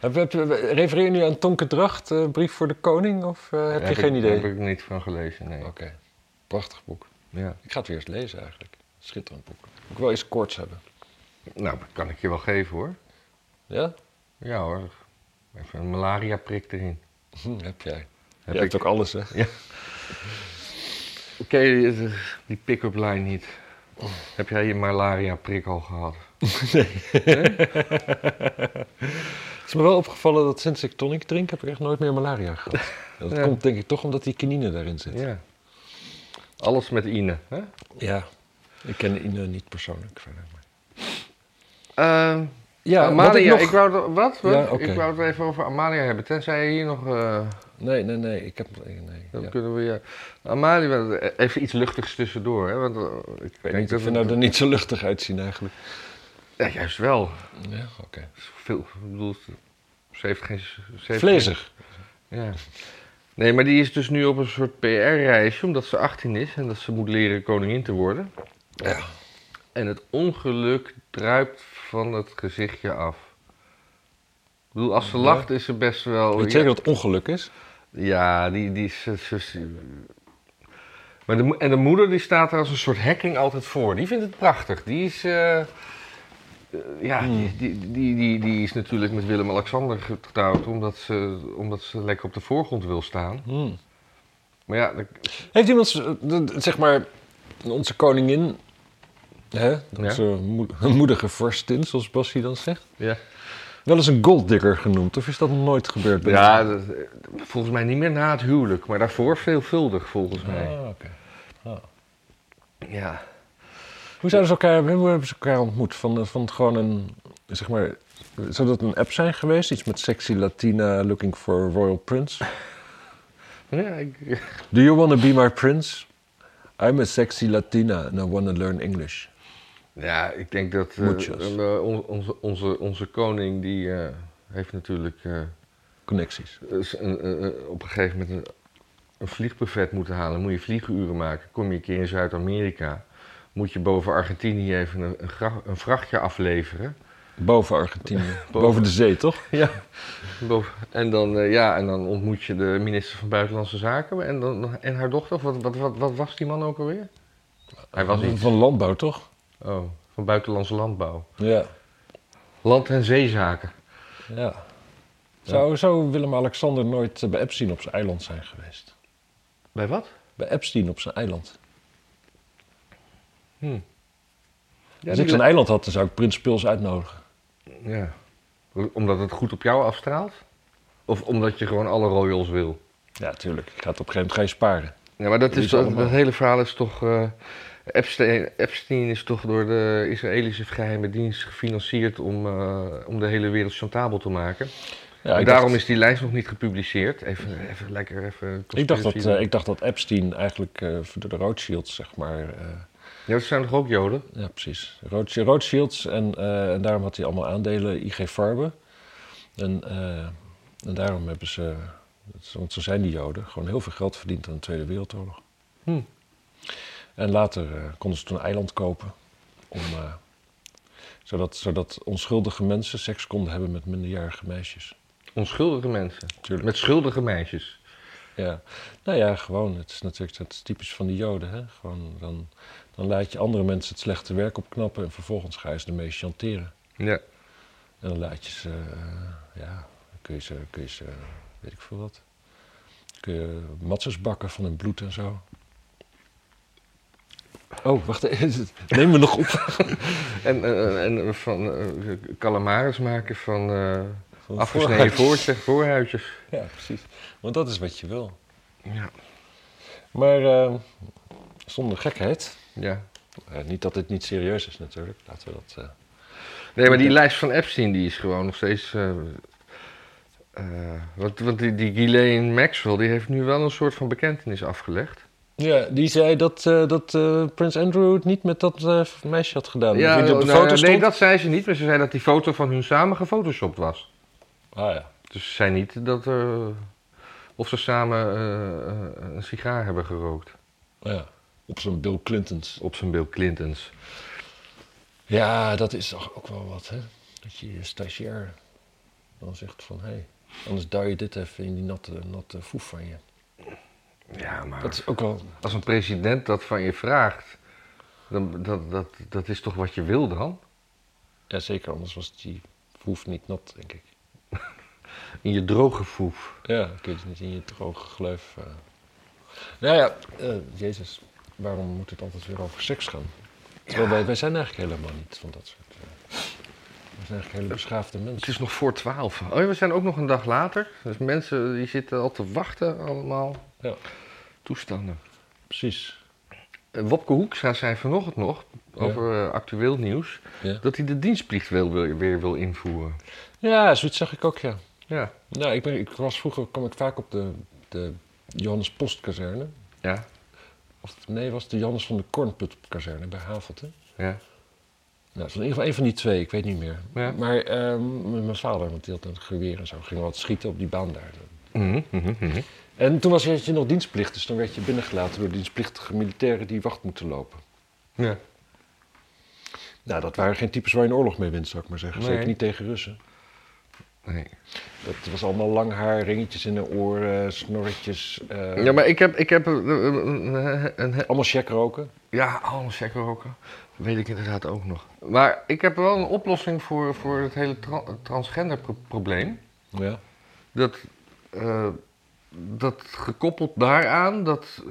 [SPEAKER 2] heb, heb, refereer je nu aan Tonke Dracht, eh, Brief voor de Koning? Of eh, heb je geen
[SPEAKER 1] ik,
[SPEAKER 2] idee? Oh,
[SPEAKER 1] Daar heb ik niet van gelezen, nee.
[SPEAKER 2] Oké, prachtig boek.
[SPEAKER 1] Ja.
[SPEAKER 2] Ik ga het weer eens lezen eigenlijk. Schitterend boek. Moet ik wel eens koorts hebben.
[SPEAKER 1] Nou, dat kan ik je wel geven hoor.
[SPEAKER 2] Ja?
[SPEAKER 1] Ja hoor. Even een malaria prik erin.
[SPEAKER 2] Hm, heb jij.
[SPEAKER 1] Heb
[SPEAKER 2] je hebt
[SPEAKER 1] ik.
[SPEAKER 2] ook alles, hè?
[SPEAKER 1] Oké, die- die pick-up line niet. Heb jij je malaria prik al gehad?
[SPEAKER 2] Het is me wel opgevallen dat sinds ik tonic drink, heb ik echt nooit meer malaria gehad. (laughs) Dat
[SPEAKER 1] Ja.
[SPEAKER 2] komt denk ik toch omdat die kinine daarin zit.
[SPEAKER 1] Ja. Alles met Ine. Hè?
[SPEAKER 2] Ja. Ik ken Ine niet persoonlijk verder. maar-
[SPEAKER 1] Eh,
[SPEAKER 2] Ja, wat ik
[SPEAKER 1] Amalia,
[SPEAKER 2] nog...
[SPEAKER 1] ik, wou er- wat? Wat?
[SPEAKER 2] Ja, oké.
[SPEAKER 1] Ik wou het even over Amalia hebben. Tenzij je hier nog... eh,
[SPEAKER 2] Nee, nee, nee. Ik heb... Nee,
[SPEAKER 1] dan
[SPEAKER 2] ja.
[SPEAKER 1] kunnen we je... Amalia, even iets luchtigs tussendoor. Hè? Want, eh, ik
[SPEAKER 2] Ik
[SPEAKER 1] denk
[SPEAKER 2] weet niet
[SPEAKER 1] dat
[SPEAKER 2] of we
[SPEAKER 1] het-
[SPEAKER 2] nou er niet zo luchtig uitzien eigenlijk.
[SPEAKER 1] Ja, juist wel.
[SPEAKER 2] Ja, oké.
[SPEAKER 1] Veel, ik bedoel, ze heeft geen... Ze heeft
[SPEAKER 2] Vlezig.
[SPEAKER 1] Ja. Nee, maar die is dus nu op een soort PR-reisje, omdat ze 18 is en dat ze moet leren koningin te worden.
[SPEAKER 2] Ja.
[SPEAKER 1] En het ongeluk druipt van het gezichtje af. Ik bedoel, als ze
[SPEAKER 2] Ja.
[SPEAKER 1] lacht is ze best wel...
[SPEAKER 2] Weet je
[SPEAKER 1] ja,
[SPEAKER 2] zeker dat het ongeluk is?
[SPEAKER 1] ja, die, die is... is- is- maar de, mo- en de moeder die staat er als een soort hacking altijd voor. Die vindt het prachtig. Die is... eh, ja, die, die, die, die, die is natuurlijk met Willem-Alexander getrouwd omdat ze, omdat ze lekker op de voorgrond wil staan.
[SPEAKER 2] Hmm.
[SPEAKER 1] Maar ja, dat-
[SPEAKER 2] Heeft iemand, z- d- d- zeg maar, onze koningin, hè, onze mo- moedige vorstin, zoals Bassie dan zegt,
[SPEAKER 1] ja.
[SPEAKER 2] wel eens een golddigger genoemd? Of is dat nog nooit gebeurd? bij
[SPEAKER 1] ja
[SPEAKER 2] jou?
[SPEAKER 1] dat- eh, volgens mij niet meer na het huwelijk, maar daarvoor veelvuldig volgens mij.
[SPEAKER 2] Ah, oké.
[SPEAKER 1] Ja.
[SPEAKER 2] Hoe zouden ze elkaar, hoe hebben ze elkaar ontmoet? Van, eh, van gewoon een, zeg maar, zou dat een app zijn geweest? Iets met sexy Latina looking for royal prince?
[SPEAKER 1] ja ik, (laughs)
[SPEAKER 2] Do you want to be my prince? I'm a sexy Latina and I want to learn English.
[SPEAKER 1] Ja, ik denk dat eh,
[SPEAKER 2] Muchas.
[SPEAKER 1] eh, on- onze, onze, onze koning die eh, heeft natuurlijk eh,
[SPEAKER 2] Connecties.
[SPEAKER 1] s- dus een- een- een- op een gegeven moment een, een vliegbuffet moeten halen. Moet je vlieguren maken. Kom je een keer in Zuid-Amerika. Moet je boven Argentinië even een, een, gra- een vrachtje afleveren.
[SPEAKER 2] Boven Argentinië. Boven. de zee, toch?
[SPEAKER 1] (laughs) Ja. (laughs) Boven, en, dan, eh, ja, en dan ontmoet je de minister van Buitenlandse Zaken en, dan, en haar dochter. Of Wat, wat, wat, wat was die man ook alweer? Hij was iets.
[SPEAKER 2] Van landbouw, toch?
[SPEAKER 1] Oh, van Buitenlandse Landbouw.
[SPEAKER 2] Ja.
[SPEAKER 1] Land- en Zeezaken.
[SPEAKER 2] ja. Zou, zou Willem-Alexander nooit eh, bij Epstein op zijn eiland zijn geweest?
[SPEAKER 1] Bij wat?
[SPEAKER 2] Bij Epstein op zijn eiland.
[SPEAKER 1] Hmm. Ja,
[SPEAKER 2] Als
[SPEAKER 1] die-
[SPEAKER 2] ik zijn eiland had, dan zou ik Prins Pils uitnodigen.
[SPEAKER 1] Ja. Omdat het goed op jou afstraalt? Of omdat je gewoon alle royals wil?
[SPEAKER 2] Ja, tuurlijk. Ik ga het op een gegeven moment geen sparen.
[SPEAKER 1] Ja, maar dat,
[SPEAKER 2] Die
[SPEAKER 1] is,
[SPEAKER 2] is
[SPEAKER 1] toch-
[SPEAKER 2] allemaal.
[SPEAKER 1] dat hele verhaal is toch... eh, Epstein, Epstein is toch door de Israëlische geheime dienst gefinancierd om, eh, om de hele wereld chantabel te maken.
[SPEAKER 2] Ja,
[SPEAKER 1] en
[SPEAKER 2] ik
[SPEAKER 1] daarom
[SPEAKER 2] dacht-
[SPEAKER 1] is die lijst nog niet gepubliceerd. Even, even lekker even...
[SPEAKER 2] Ik dacht, dat,
[SPEAKER 1] conspiracy doen.
[SPEAKER 2] eh, ik dacht dat Epstein eigenlijk eh, door de Rothschilds, zeg maar. eh,
[SPEAKER 1] Ja, dat zijn toch ook joden?
[SPEAKER 2] ja, precies. Rothsch- Rothschilds en, eh, en daarom had hij allemaal aandelen IG Farben. En, eh, en daarom hebben ze, dat is- want zo zijn die Joden, gewoon heel veel geld verdiend aan de Tweede Wereldoorlog.
[SPEAKER 1] Hm.
[SPEAKER 2] En later eh, konden ze toen een eiland kopen, om, eh, zodat, zodat onschuldige mensen seks konden hebben met minderjarige meisjes.
[SPEAKER 1] Onschuldige mensen.
[SPEAKER 2] Tuurlijk.
[SPEAKER 1] Met schuldige meisjes.
[SPEAKER 2] Ja, nou ja, gewoon. Het is natuurlijk dat is typisch van de Joden. Hè? Gewoon, dan, dan laat je andere mensen het slechte werk opknappen en vervolgens ga je ze ermee chanteren.
[SPEAKER 1] Ja.
[SPEAKER 2] En dan laat je ze, eh, ja, dan kun je ze, kun je ze, weet ik veel wat. Kun je matzes bakken van hun bloed en zo. Oh, wacht (laughs) even. Neem me nog (laughs) op.
[SPEAKER 1] En, eh, en van eh, calamares maken van eh,
[SPEAKER 2] Van
[SPEAKER 1] afgesneden
[SPEAKER 2] voorhuis.
[SPEAKER 1] voortje- voorhuidjes.
[SPEAKER 2] Ja, precies. Want dat is wat je wil.
[SPEAKER 1] Ja.
[SPEAKER 2] Maar eh, zonder gekheid.
[SPEAKER 1] ja.
[SPEAKER 2] Eh, niet dat dit niet serieus is natuurlijk. Laten we dat... eh,
[SPEAKER 1] Nee, maar die lijst van Epstein die is gewoon nog steeds. eh, eh, want want die, die Ghislaine Maxwell die heeft nu wel een soort van bekentenis afgelegd.
[SPEAKER 2] Ja, die zei dat, eh, dat eh, Prins Andrew het niet met dat eh, meisje had gedaan. Ja, die op de
[SPEAKER 1] nou,
[SPEAKER 2] foto stond.
[SPEAKER 1] nee, dat zei ze niet, maar ze zei dat die foto van hun samen gefotoshopt was.
[SPEAKER 2] Ah ja.
[SPEAKER 1] Dus ze zei niet dat er. Of ze samen eh, eh, een sigaar hebben gerookt.
[SPEAKER 2] Oh ja. Op zo'n Bill Clintons.
[SPEAKER 1] Op zijn Bill Clintons.
[SPEAKER 2] Ja, dat is toch ook wel wat, hè? Dat je je stagiair dan zegt van... Hé, hey, anders duw je dit even in die natte, natte foef van je.
[SPEAKER 1] Ja, maar.
[SPEAKER 2] Dat is ook wel...
[SPEAKER 1] Als een president dat van je vraagt, dan, dat, dat, dat is toch wat je wil dan?
[SPEAKER 2] Ja, zeker. Anders was die foef niet nat, denk ik.
[SPEAKER 1] In je droge foef.
[SPEAKER 2] Ja, dan kun je het niet in je droge gleuf... eh. Nou ja, eh, jezus. Waarom moet het altijd weer over seks gaan? Terwijl wij, wij zijn eigenlijk helemaal niet van dat soort... eh, we zijn eigenlijk hele beschaafde
[SPEAKER 1] Het
[SPEAKER 2] mensen.
[SPEAKER 1] is nog voor twaalf. Oh ja, we zijn ook nog een dag later. Dus mensen die zitten al te wachten allemaal.
[SPEAKER 2] Ja,
[SPEAKER 1] Toestanden.
[SPEAKER 2] precies.
[SPEAKER 1] Eh, Wopke Hoekstra zei vanochtend nog,
[SPEAKER 2] Ja.
[SPEAKER 1] over eh, actueel nieuws,
[SPEAKER 2] Ja.
[SPEAKER 1] dat hij de dienstplicht wel, wil- weer wil invoeren.
[SPEAKER 2] ja, zoiets zag ik ook, ja.
[SPEAKER 1] Ja.
[SPEAKER 2] Nou, ik, ben, ik was vroeger, kwam ik vaak op de, de Johannes Postkazerne.
[SPEAKER 1] Ja.
[SPEAKER 2] Of nee, was het de Johannes van de Kornputkazerne bij Havelte.
[SPEAKER 1] Ja.
[SPEAKER 2] Nou, het was in ieder geval een van die twee, ik weet niet meer.
[SPEAKER 1] Ja.
[SPEAKER 2] Maar ehm, met mijn vader, want die had een geweer en zo, ging wat schieten op die baan daar.
[SPEAKER 1] Mhm, mhm, mhm.
[SPEAKER 2] En toen was je, had je nog dienstplicht, dus dan werd je binnengelaten door dienstplichtige militairen die wacht moeten lopen.
[SPEAKER 1] ja.
[SPEAKER 2] Nou, dat waren geen types waar je een oorlog mee wint, zou ik maar zeggen.
[SPEAKER 1] Nee.
[SPEAKER 2] Zeker niet tegen Russen.
[SPEAKER 1] Nee.
[SPEAKER 2] Dat was allemaal lang haar, ringetjes in de oren, snorretjes. eh,
[SPEAKER 1] Ja, maar ik heb, ik heb eh, een, een- een- een-
[SPEAKER 2] Allemaal check roken.
[SPEAKER 1] Ja, allemaal checkroken. Weet ik inderdaad ook nog. Maar ik heb wel een oplossing voor, voor het hele tra- transgender pro- probleem.
[SPEAKER 2] Ja.
[SPEAKER 1] Dat, eh, dat gekoppeld daaraan dat eh,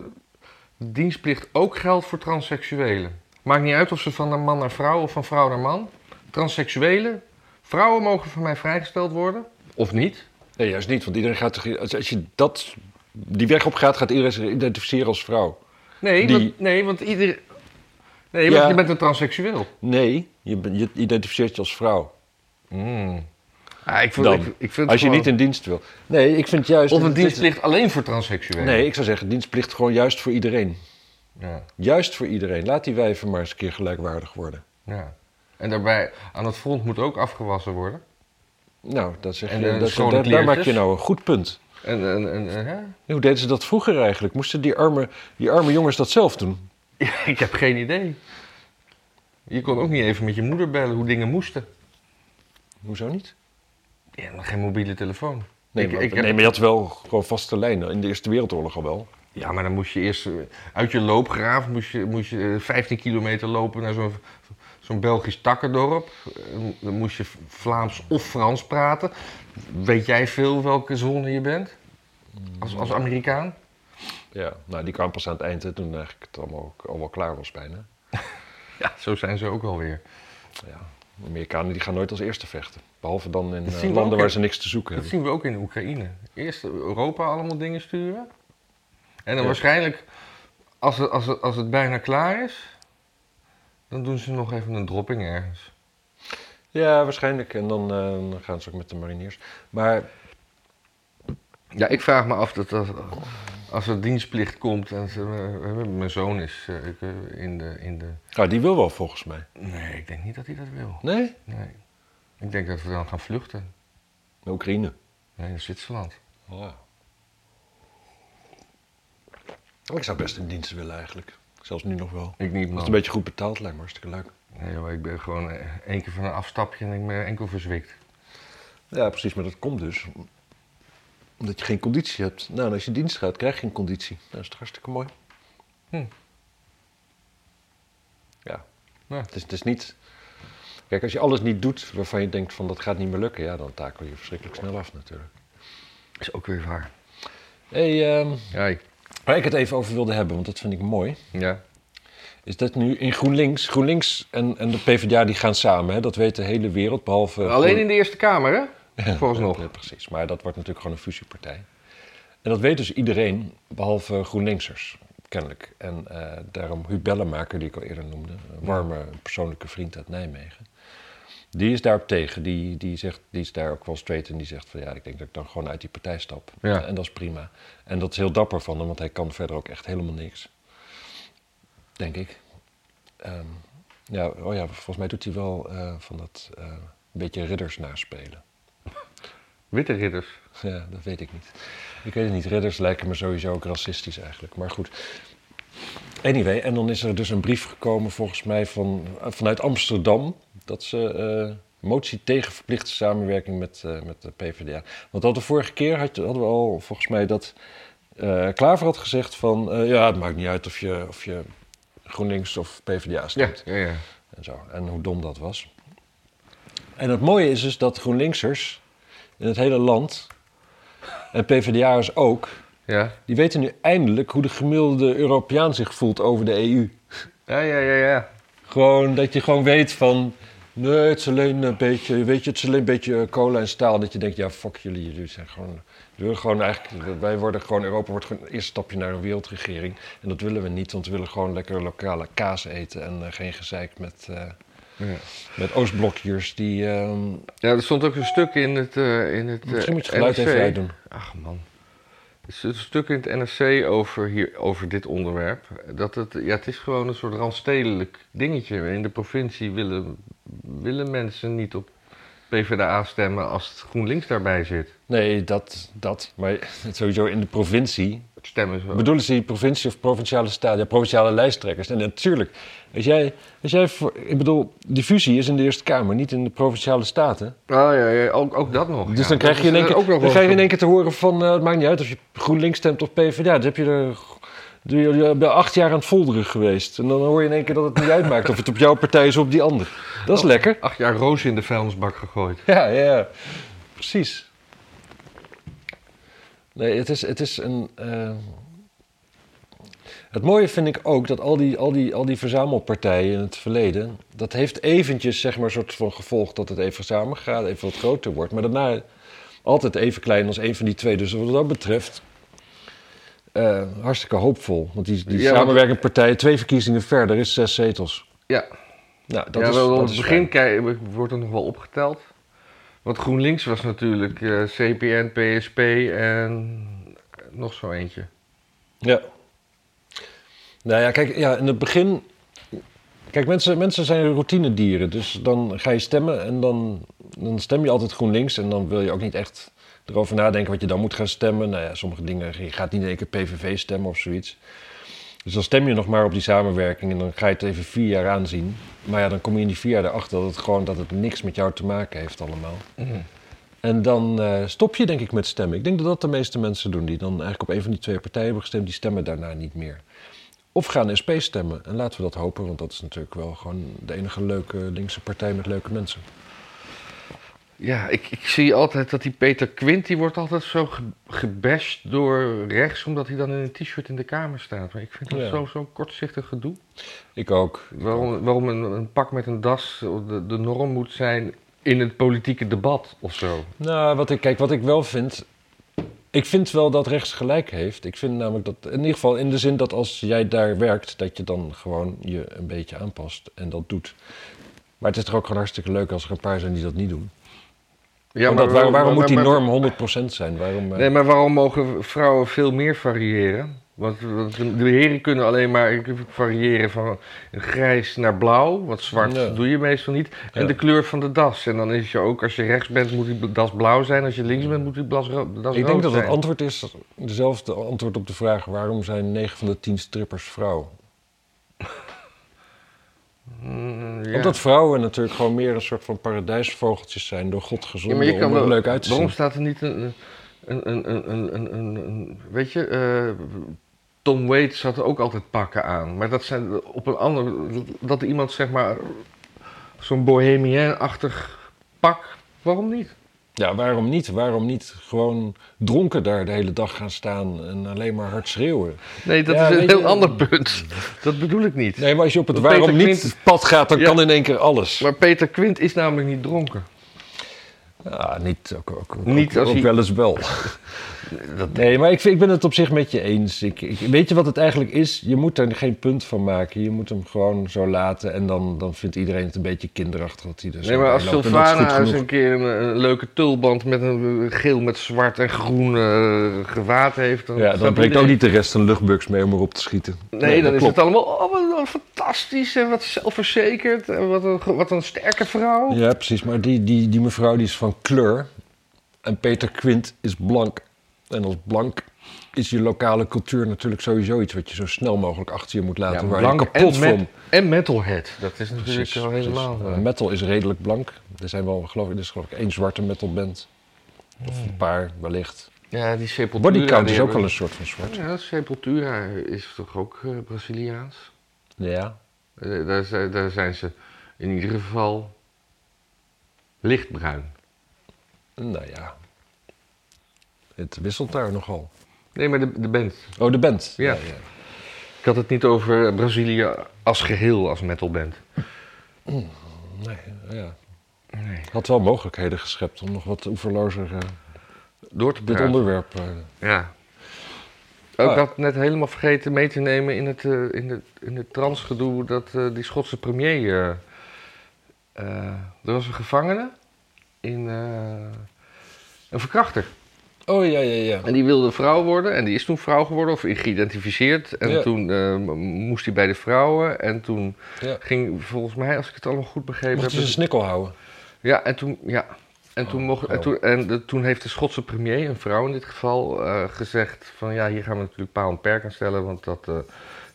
[SPEAKER 1] dienstplicht ook geldt voor transseksuelen. Maakt niet uit of ze van een man naar vrouw of van vrouw naar man. Transseksuelen, vrouwen mogen van mij vrijgesteld worden. Of niet.
[SPEAKER 2] Nee, juist niet, want iedereen gaat... zich- Als, als je dat, die weg op gaat, gaat iedereen zich identificeren als vrouw.
[SPEAKER 1] Nee,
[SPEAKER 2] Die-
[SPEAKER 1] want, nee, want ieder... Nee, want
[SPEAKER 2] Ja.
[SPEAKER 1] je bent een transseksueel.
[SPEAKER 2] Nee, je, ben- je identificeert je als vrouw.
[SPEAKER 1] Ah, ik vind,
[SPEAKER 2] Dan.
[SPEAKER 1] ik, ik vind
[SPEAKER 2] Als je
[SPEAKER 1] gewoon-
[SPEAKER 2] niet in dienst wil. Nee, ik vind juist...
[SPEAKER 1] Of een
[SPEAKER 2] dit-
[SPEAKER 1] dienstplicht alleen voor transseksuelen.
[SPEAKER 2] Nee, ik zou zeggen, dienstplicht gewoon juist voor iedereen.
[SPEAKER 1] Ja,
[SPEAKER 2] Juist voor iedereen. Laat die wijven maar eens een keer gelijkwaardig worden.
[SPEAKER 1] ja. En daarbij, aan het front moet ook afgewassen worden.
[SPEAKER 2] Nou, dat zeg
[SPEAKER 1] En,
[SPEAKER 2] je,
[SPEAKER 1] eh,
[SPEAKER 2] dat,
[SPEAKER 1] schone
[SPEAKER 2] daar- daar
[SPEAKER 1] kleertjes.
[SPEAKER 2] maak je nou een goed punt.
[SPEAKER 1] En, en, en, en, hè?
[SPEAKER 2] Hoe deden ze dat vroeger eigenlijk? Moesten die arme, die arme jongens dat zelf doen?
[SPEAKER 1] (laughs) ik heb geen idee. Je kon ook niet even met je moeder bellen hoe dingen moesten.
[SPEAKER 2] Hoezo niet?
[SPEAKER 1] Ja, maar geen mobiele telefoon.
[SPEAKER 2] Nee,
[SPEAKER 1] Ik-
[SPEAKER 2] maar,
[SPEAKER 1] ik heb-
[SPEAKER 2] nee, maar je had wel gewoon vaste lijnen. In de Eerste Wereldoorlog al wel.
[SPEAKER 1] Ja, maar dan moest je eerst eh, uit je loopgraaf moest je, moest je eh, 15 kilometer lopen naar zo'n zo'n Belgisch takkendorp. Eh, Dan moest je Vlaams of Frans praten. Weet jij veel welke zone je bent? Als, als Amerikaan?
[SPEAKER 2] Ja, nou die kwam pas aan het eind, hè, toen eigenlijk het allemaal ook- al wel klaar was bijna.
[SPEAKER 1] Ja, zo zijn ze ook alweer.
[SPEAKER 2] Ja, de Amerikanen die gaan nooit als eerste vechten. Behalve dan in
[SPEAKER 1] Dat
[SPEAKER 2] eh,
[SPEAKER 1] zien we ook,
[SPEAKER 2] landen waar
[SPEAKER 1] hè?
[SPEAKER 2] ze niks te zoeken
[SPEAKER 1] Dat
[SPEAKER 2] hebben.
[SPEAKER 1] zien we ook in Oekraïne. Eerst Europa allemaal dingen sturen. En dan
[SPEAKER 2] Ja.
[SPEAKER 1] waarschijnlijk, als het, als, het, als het bijna klaar is, dan doen ze nog even een dropping ergens.
[SPEAKER 2] Ja, waarschijnlijk. En dan eh, dan gaan ze ook met de mariniers. Maar
[SPEAKER 1] Ja, ik vraag me af dat als, als er dienstplicht komt en ze, eh, mijn zoon is eh, ik, eh, in, de, in de...
[SPEAKER 2] ah, die wil wel volgens mij.
[SPEAKER 1] Nee, ik denk niet dat hij dat wil.
[SPEAKER 2] Nee?
[SPEAKER 1] Nee. Ik denk dat we dan gaan vluchten.
[SPEAKER 2] Naar Oekraïne.
[SPEAKER 1] Nee, naar Zwitserland.
[SPEAKER 2] Ja. Ik zou best in dienst willen eigenlijk. Zelfs nu nog wel. Oh.
[SPEAKER 1] Ik niet,
[SPEAKER 2] Als het
[SPEAKER 1] man.
[SPEAKER 2] een beetje goed betaald lijkt me hartstikke leuk.
[SPEAKER 1] Nee, joh, ik ben gewoon eh, één keer van een afstapje en ik ben enkel verzwikt.
[SPEAKER 2] Ja, precies. Maar dat komt dus omdat je geen conditie hebt. Nou, en als je in dienst gaat, krijg je geen conditie. Nou, is het hartstikke mooi.
[SPEAKER 1] Hm.
[SPEAKER 2] Ja.
[SPEAKER 1] Ja.
[SPEAKER 2] Het, is, het is niet... Kijk, als je alles niet doet waarvan je denkt van dat gaat niet meer lukken... ja, dan takel je verschrikkelijk snel af natuurlijk.
[SPEAKER 1] Is ook weer waar.
[SPEAKER 2] hey, ehm,
[SPEAKER 1] Ja,
[SPEAKER 2] waar ik het even over wilde hebben, want dat vind ik mooi...
[SPEAKER 1] ja.
[SPEAKER 2] is dat nu in GroenLinks... GroenLinks en, en de PvdA die gaan samen, hè? dat weet de hele wereld, behalve...
[SPEAKER 1] Alleen in de Eerste Kamer, hè? Volgens nog.
[SPEAKER 2] Ja, precies. Maar dat wordt natuurlijk gewoon een fusiepartij. En dat weet dus iedereen, behalve GroenLinksers, kennelijk. En eh, daarom Huub Bellemaker, die ik al eerder noemde, een warme persoonlijke vriend uit Nijmegen. Die is daarop tegen. Die, die, zegt, die is daar ook wel straight en die zegt van ja, ik denk dat ik dan gewoon uit die partij stap.
[SPEAKER 1] Ja.
[SPEAKER 2] En dat is prima. En dat is heel dapper van hem, want hij kan verder ook echt helemaal niks. Denk ik. Ehm, ja, oh ja, volgens mij doet hij wel eh, van dat eh, beetje ridders naspelen.
[SPEAKER 1] Witte ridders.
[SPEAKER 2] Ja, dat weet ik niet. Ik weet het niet. Ridders lijken me sowieso ook racistisch eigenlijk. Maar goed. Anyway, en dan is er dus een brief gekomen volgens mij van, vanuit Amsterdam... dat ze eh, motie tegen verplichte samenwerking met, eh, met de PvdA. Want al de vorige keer had- hadden we al volgens mij dat eh Klaver had gezegd van... eh, ja, het maakt niet uit of je, of je GroenLinks of PvdA
[SPEAKER 1] Ja,
[SPEAKER 2] stemt.
[SPEAKER 1] ja, ja.
[SPEAKER 2] En, zo. en hoe dom dat was. En het mooie is dus dat GroenLinksers in het hele land, en PvdA'ers ook,
[SPEAKER 1] Ja,
[SPEAKER 2] die weten nu eindelijk hoe de gemiddelde Europeaan zich voelt over de EU.
[SPEAKER 1] ja, ja, ja. ja.
[SPEAKER 2] Gewoon dat je gewoon weet van, nee, het is alleen een beetje, weet je, het is alleen een beetje eh, cola en staal. Dat je denkt, ja, fuck jullie, jullie zijn gewoon, jullie willen gewoon eigenlijk, wij worden gewoon, Europa wordt gewoon het eerste stapje naar een wereldregering. En dat willen we niet, want we willen gewoon lekker lokale kaas eten en eh, geen gezeik met... eh,
[SPEAKER 1] Ja.
[SPEAKER 2] met Oostblokjes die. ehm,
[SPEAKER 1] Ja, er stond ook een stuk in het. eh, in het eh,
[SPEAKER 2] misschien moet je het geluid
[SPEAKER 1] NRC.
[SPEAKER 2] even uitdoen.
[SPEAKER 1] Ach man. Er is een stuk in het NRC over, hier, over dit onderwerp. Dat het, ja, het is gewoon een soort randstedelijk dingetje. In de provincie willen, willen mensen niet op PvdA stemmen als het GroenLinks daarbij zit.
[SPEAKER 2] Nee, dat, dat. Maar sowieso in de provincie.
[SPEAKER 1] Het stemmen zo.
[SPEAKER 2] Bedoelen ze die provincie of provinciale stadia, provinciale lijsttrekkers? En natuurlijk, als jij, als jij voor, ik bedoel, die fusie is in de Eerste Kamer, niet in de provinciale staten.
[SPEAKER 1] Oh ja, ja ook, ook dat nog.
[SPEAKER 2] Dus
[SPEAKER 1] ja.
[SPEAKER 2] dan krijg
[SPEAKER 1] Dat
[SPEAKER 2] je in
[SPEAKER 1] is,
[SPEAKER 2] één
[SPEAKER 1] eh,
[SPEAKER 2] keer,
[SPEAKER 1] ook nog
[SPEAKER 2] dan
[SPEAKER 1] wel
[SPEAKER 2] krijg je in
[SPEAKER 1] zo.
[SPEAKER 2] één keer te horen van, eh, het maakt niet uit of je GroenLinks stemt of PvdA. Dan heb je er Je je bent acht jaar aan het folderen geweest. En dan hoor je in één keer dat het niet uitmaakt of het op jouw partij is of op die ander. Dat is
[SPEAKER 1] Oh.
[SPEAKER 2] lekker.
[SPEAKER 1] Acht jaar roos in de vuilnisbak gegooid.
[SPEAKER 2] (laughs) Ja, ja, ja. Precies. Nee, het is, het is een... eh, Het mooie vind ik ook dat al die, al, die, al die verzamelpartijen in het verleden... dat heeft eventjes zeg maar, een soort van gevolg dat het even samen gaat, even wat groter wordt. Maar daarna altijd even klein als één van die twee. Dus wat dat betreft... eh, hartstikke hoopvol. Want die, die
[SPEAKER 1] Ja, want-
[SPEAKER 2] samenwerkende partijen, twee verkiezingen verder, is zes zetels.
[SPEAKER 1] Ja,
[SPEAKER 2] Nou, dat
[SPEAKER 1] ja
[SPEAKER 2] is,
[SPEAKER 1] wel,
[SPEAKER 2] dat
[SPEAKER 1] op het
[SPEAKER 2] is
[SPEAKER 1] begin
[SPEAKER 2] fijn.
[SPEAKER 1] kei- wordt er nog wel opgeteld. Want GroenLinks was natuurlijk eh, CPN, PSP en nog zo eentje.
[SPEAKER 2] Ja. Nou ja, kijk, ja, in het begin. Kijk, mensen, mensen zijn routinedieren. Dus dan ga je stemmen en dan, dan stem je altijd GroenLinks. En dan wil je ook niet echt erover nadenken wat je dan moet gaan stemmen. Nou ja, sommige dingen. Je gaat niet in één keer PVV stemmen of zoiets. Dus dan stem je nog maar op die samenwerking en dan ga je het even vier jaar aanzien. Maar ja, dan kom je in die vier jaar erachter dat het gewoon dat het niks met jou te maken heeft allemaal. En dan eh, stop je denk ik met stemmen. Ik denk dat dat de meeste mensen doen die dan eigenlijk op een van die twee partijen hebben gestemd. Die stemmen daarna niet meer. Of gaan SP stemmen. En laten we dat hopen, want dat is natuurlijk wel gewoon de enige leuke linkse partij met leuke mensen.
[SPEAKER 1] Ja, ik, ik zie altijd dat die Peter Quint, die wordt altijd zo ge- gebashed door rechts, omdat hij dan in een t-shirt in de kamer staat. Maar ik vind dat
[SPEAKER 2] Ja.
[SPEAKER 1] zo, zo kortzichtig gedoe.
[SPEAKER 2] Ik ook.
[SPEAKER 1] Waarom, waarom een, een pak met een das de, de norm moet zijn in het politieke debat of zo.
[SPEAKER 2] Nou, wat ik, kijk, wat ik wel vind. Ik vind wel dat rechts gelijk heeft. Ik vind namelijk dat, in ieder geval in de zin dat als jij daar werkt, dat je dan gewoon je een beetje aanpast en dat doet. Maar het is toch ook gewoon hartstikke leuk als er een paar zijn die dat niet doen.
[SPEAKER 1] Ja,
[SPEAKER 2] Omdat, waar- waarom moet die
[SPEAKER 1] maar-
[SPEAKER 2] norm 100% zijn? Waarom, eh,
[SPEAKER 1] Nee, maar waarom mogen vrouwen veel meer variëren? Want, want de heren kunnen alleen maar variëren van grijs naar blauw. Want zwart
[SPEAKER 2] Ja.
[SPEAKER 1] doe je meestal niet. En
[SPEAKER 2] Ja.
[SPEAKER 1] de kleur van de das. En dan is je ook, als je rechts bent, moet die das blauw zijn. Als je links bent, moet die das, ro- das rood
[SPEAKER 2] Mm. Ik denk dat
[SPEAKER 1] zijn.
[SPEAKER 2] het antwoord is dezelfde antwoord op de vraag waarom zijn 9 van de 10 strippers vrouw.
[SPEAKER 1] Mm, ja.
[SPEAKER 2] Omdat vrouwen natuurlijk gewoon meer een soort van paradijsvogeltjes zijn door God
[SPEAKER 1] Ja,
[SPEAKER 2] gezonden
[SPEAKER 1] maar je kan
[SPEAKER 2] om er
[SPEAKER 1] wel,
[SPEAKER 2] leuk uit te
[SPEAKER 1] waarom
[SPEAKER 2] zien.
[SPEAKER 1] staat er niet een... een, een, een, een, een, een- een- weet je, eh, Tom Waits had ook altijd pakken aan. Maar dat zijn op een ander... Dat iemand zeg maar zo'n bohemien-achtig pak... Waarom niet?
[SPEAKER 2] Ja, waarom niet? Waarom niet gewoon dronken daar de hele dag gaan staan en alleen maar hard schreeuwen?
[SPEAKER 1] Nee, dat
[SPEAKER 2] Ja,
[SPEAKER 1] is een
[SPEAKER 2] weet je-
[SPEAKER 1] heel ander punt. Dat bedoel ik niet.
[SPEAKER 2] Nee, maar als je op het
[SPEAKER 1] Peter
[SPEAKER 2] waarom niet
[SPEAKER 1] Quint-
[SPEAKER 2] pad gaat, dan
[SPEAKER 1] Ja.
[SPEAKER 2] kan in één keer alles.
[SPEAKER 1] Maar Peter Quint is namelijk niet dronken.
[SPEAKER 2] Ja, niet, ook, ook, ook-
[SPEAKER 1] Niet als
[SPEAKER 2] ook
[SPEAKER 1] hij-
[SPEAKER 2] wel eens wel. nee, maar ik, vind- ik ben het op zich met je eens. Ik, ik, weet je wat het eigenlijk is? Je moet er geen punt van maken. Je moet hem gewoon zo laten. En dan, dan vindt iedereen het een beetje kinderachtig dat hij er zo
[SPEAKER 1] Nee, maar als
[SPEAKER 2] bij loopt. En dat is goed
[SPEAKER 1] Sylvana eens
[SPEAKER 2] genoeg.
[SPEAKER 1] een keer een, een leuke tulband met een eh, geel met zwart en groen eh, gewaad heeft...
[SPEAKER 2] Ja, dan
[SPEAKER 1] staat
[SPEAKER 2] breekt ook
[SPEAKER 1] iedereen-
[SPEAKER 2] niet de rest een luchtbugs mee om erop te schieten.
[SPEAKER 1] Nee, dan is
[SPEAKER 2] klopt.
[SPEAKER 1] het allemaal oh, wat, wat fantastisch en wat zelfverzekerd en wat een, wat een sterke vrouw.
[SPEAKER 2] Ja, precies. Maar die, die, die mevrouw die is van kleur. En Peter Quint is blank. En als blank is je lokale cultuur natuurlijk sowieso iets wat je zo snel mogelijk achter je moet laten. waar je kapot
[SPEAKER 1] en, met-
[SPEAKER 2] van
[SPEAKER 1] en metalhead. Dat is natuurlijk
[SPEAKER 2] Precies,
[SPEAKER 1] al
[SPEAKER 2] precies.
[SPEAKER 1] helemaal... eh.
[SPEAKER 2] Uh, metal is redelijk blank. Er zijn wel, geloof ik, er is geloof ik één zwarte metalband. Of een paar, wellicht.
[SPEAKER 1] ja, die Sepultura...
[SPEAKER 2] Bodycount
[SPEAKER 1] die
[SPEAKER 2] is ook wel
[SPEAKER 1] hebben-
[SPEAKER 2] een soort van zwart.
[SPEAKER 1] Ja, Sepultura is toch ook eh, Braziliaans?
[SPEAKER 2] Ja.
[SPEAKER 1] Eh, daar, zijn- daar zijn ze in ieder geval lichtbruin.
[SPEAKER 2] Nou ja. Het wisselt daar nogal.
[SPEAKER 1] Nee, maar de, de band.
[SPEAKER 2] Oh, de band.
[SPEAKER 1] Ja. Ik had het niet over Brazilië als geheel als metalband.
[SPEAKER 2] Nee, ja.
[SPEAKER 1] Nee.
[SPEAKER 2] Had wel mogelijkheden geschept om nog wat oeverlozer eh,
[SPEAKER 1] Door te
[SPEAKER 2] dit
[SPEAKER 1] praten.
[SPEAKER 2] onderwerp. eh,
[SPEAKER 1] Ja. Ook
[SPEAKER 2] Ah.
[SPEAKER 1] had net helemaal vergeten mee te nemen in het, eh, in het, in het transgedoe dat eh, die Schotse premier. eh, eh, er was een gevangene in. eh, een verkrachter.
[SPEAKER 2] Oh ja, ja, ja.
[SPEAKER 1] En die wilde vrouw worden en die is toen vrouw geworden of geïdentificeerd. En
[SPEAKER 2] Ja.
[SPEAKER 1] toen eh, m- moest hij bij de vrouwen en toen
[SPEAKER 2] ja.
[SPEAKER 1] ging volgens mij, als ik het allemaal goed begrepen
[SPEAKER 2] Mocht
[SPEAKER 1] heb.
[SPEAKER 2] je zijn snikkel houden.
[SPEAKER 1] Ja, en toen, ja. En, toen, mocht, en,
[SPEAKER 2] oh.
[SPEAKER 1] toen, en de- toen heeft de Schotse premier, een vrouw in dit geval, eh, gezegd van ja, hier gaan we natuurlijk paal en perk aan stellen, want dat, eh,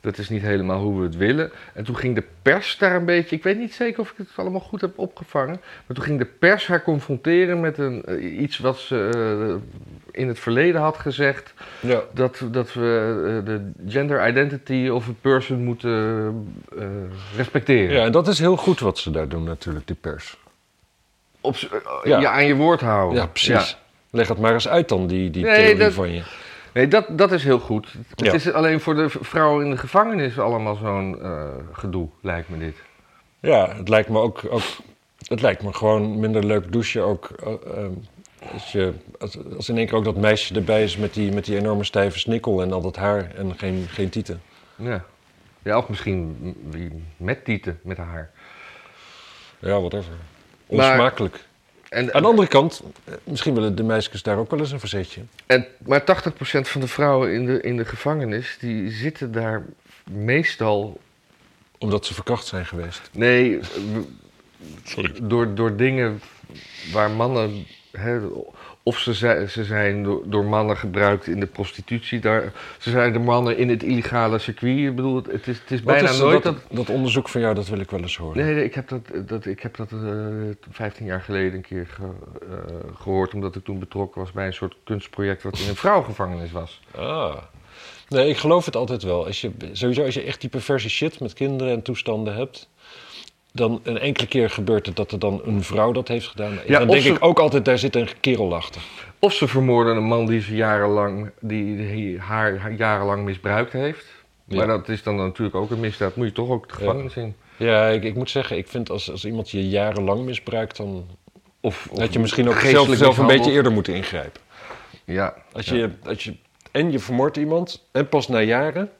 [SPEAKER 1] dat is niet helemaal hoe we het willen. En toen ging de pers daar een beetje, ik weet niet zeker of ik het allemaal goed heb opgevangen, maar toen ging de pers haar confronteren met een, eh, iets wat ze eh, in het verleden had gezegd,
[SPEAKER 2] Ja.
[SPEAKER 1] dat, dat we eh, de gender identity of a person moeten eh, respecteren.
[SPEAKER 2] ja, en dat is heel goed wat ze daar doen natuurlijk, die pers.
[SPEAKER 1] Op, z'n- eh,
[SPEAKER 2] Ja.
[SPEAKER 1] Je aan je woord houden.
[SPEAKER 2] Oh. Ja, precies. Leg het maar eens uit dan, die, die
[SPEAKER 1] Nee,
[SPEAKER 2] theorie
[SPEAKER 1] dat-
[SPEAKER 2] van je.
[SPEAKER 1] Nee, dat, dat is heel goed. Het
[SPEAKER 2] Ja.
[SPEAKER 1] is alleen voor de v- vrouwen in de gevangenis allemaal zo'n eh, gedoe, lijkt me dit.
[SPEAKER 2] Ja, het lijkt me ook, ook. Het lijkt me gewoon minder leuk douchen ook. eh, ehm, als, je, als, als in één keer ook dat meisje erbij is met die, met die enorme stijve snikkel en al dat haar en geen, geen tieten.
[SPEAKER 1] Ja. ja of misschien m- wie- met tieten, met haar.
[SPEAKER 2] Ja, whatever.
[SPEAKER 1] Maar-
[SPEAKER 2] Onsmakelijk.
[SPEAKER 1] En,
[SPEAKER 2] Aan de
[SPEAKER 1] en,
[SPEAKER 2] andere kant, eh, misschien willen de meisjes daar ook wel eens een verzetje.
[SPEAKER 1] maar 80% van de vrouwen in de, in de gevangenis, die zitten daar meestal...
[SPEAKER 2] Omdat ze verkracht zijn geweest.
[SPEAKER 1] Nee, w- door, door dingen waar mannen... Hè, of ze, zijn- ze zijn door, door mannen gebruikt in de prostitutie. Daar, ze zijn de mannen in het illegale circuit. Ik bedoel, het, het is, het is
[SPEAKER 2] Wat
[SPEAKER 1] bijna
[SPEAKER 2] is
[SPEAKER 1] nooit
[SPEAKER 2] dat,
[SPEAKER 1] dat,
[SPEAKER 2] dat onderzoek van jou, dat wil ik wel eens horen.
[SPEAKER 1] Nee, nee, ik heb dat, dat, ik heb dat eh, 15 jaar geleden een keer ge- eh, gehoord, omdat ik toen betrokken was bij een soort kunstproject wat in een vrouwengevangenis was.
[SPEAKER 2] Ah. Nee, ik geloof het altijd wel. Als je, sowieso als je echt die perverse shit met kinderen en toestanden hebt... dan een enkele keer gebeurt het dat er dan een vrouw dat heeft gedaan. En
[SPEAKER 1] Ja,
[SPEAKER 2] dan
[SPEAKER 1] of
[SPEAKER 2] denk
[SPEAKER 1] ze-
[SPEAKER 2] ik ook altijd, daar zit een kerel achter.
[SPEAKER 1] Of ze vermoorden een man die ze jarenlang, die, die haar, haar jarenlang misbruikt heeft.
[SPEAKER 2] Ja.
[SPEAKER 1] Maar dat is dan natuurlijk ook een misdaad. Moet je toch ook de gevangenis in?
[SPEAKER 2] Ja, ik, ik moet zeggen, ik vind als, als iemand je jarenlang misbruikt... dan
[SPEAKER 1] Of, of
[SPEAKER 2] had je misschien ook zelf,
[SPEAKER 1] geestelijk
[SPEAKER 2] zelf een beetje
[SPEAKER 1] mishandeld.
[SPEAKER 2] eerder moeten ingrijpen.
[SPEAKER 1] Ja.
[SPEAKER 2] Als je, als je, en je vermoordt iemand, en pas na jaren...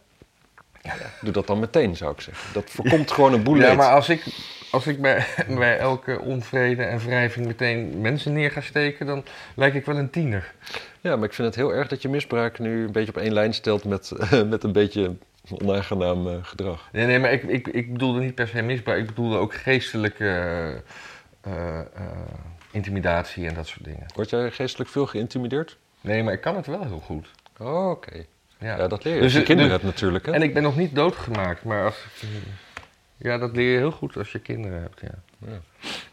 [SPEAKER 2] Doe dat dan meteen, zou ik zeggen. Dat voorkomt gewoon een boel
[SPEAKER 1] ja,
[SPEAKER 2] leed.
[SPEAKER 1] maar als ik, als ik bij, (laughs) bij elke onvrede en wrijving meteen mensen neer ga steken, dan lijk ik wel een tiener.
[SPEAKER 2] Ja, maar ik vind het heel erg dat je misbruik nu een beetje op één lijn stelt met, (laughs) eh, met een beetje onaangenaam eh, gedrag.
[SPEAKER 1] Nee, nee, maar ik, ik, ik bedoelde niet per se misbruik. Ik bedoelde ook geestelijke eh, eh, eh, intimidatie en dat soort dingen.
[SPEAKER 2] Word jij geestelijk veel geïntimideerd?
[SPEAKER 1] Nee, maar ik kan het wel heel goed.
[SPEAKER 2] Oh, oké.
[SPEAKER 1] Ja.
[SPEAKER 2] Ja. dat leer je.
[SPEAKER 1] Dus
[SPEAKER 2] als je
[SPEAKER 1] het-
[SPEAKER 2] kinderen
[SPEAKER 1] dus-
[SPEAKER 2] hebt natuurlijk, hè?
[SPEAKER 1] En ik ben nog niet doodgemaakt, maar als... eh, Ja, dat leer je heel goed als je kinderen hebt, ja.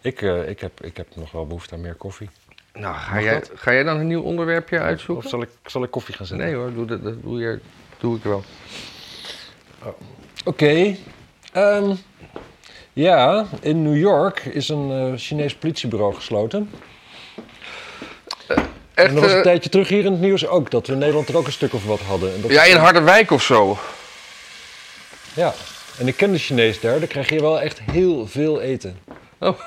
[SPEAKER 2] Ik, eh, ik, heb, ik heb nog wel behoefte aan meer koffie.
[SPEAKER 1] Nou, ga jij, ga jij dan een nieuw onderwerpje
[SPEAKER 2] Of
[SPEAKER 1] uitzoeken?
[SPEAKER 2] zal ik, zal ik koffie gaan zetten?
[SPEAKER 1] Nee hoor, doe, dat, dat doe, je, doe ik wel.
[SPEAKER 2] Oké. Ehm, ja, in New York is een eh, Chinees politiebureau gesloten. en
[SPEAKER 1] Echt,
[SPEAKER 2] dat was een
[SPEAKER 1] eh,
[SPEAKER 2] tijdje terug hier in het nieuws ook, dat we in Nederland er ook een stuk of wat hadden. En dat
[SPEAKER 1] ja, in Harderwijk of zo.
[SPEAKER 2] Ja, en ik ken de Chinees daar, daar krijg je wel echt heel veel eten.
[SPEAKER 1] Oh.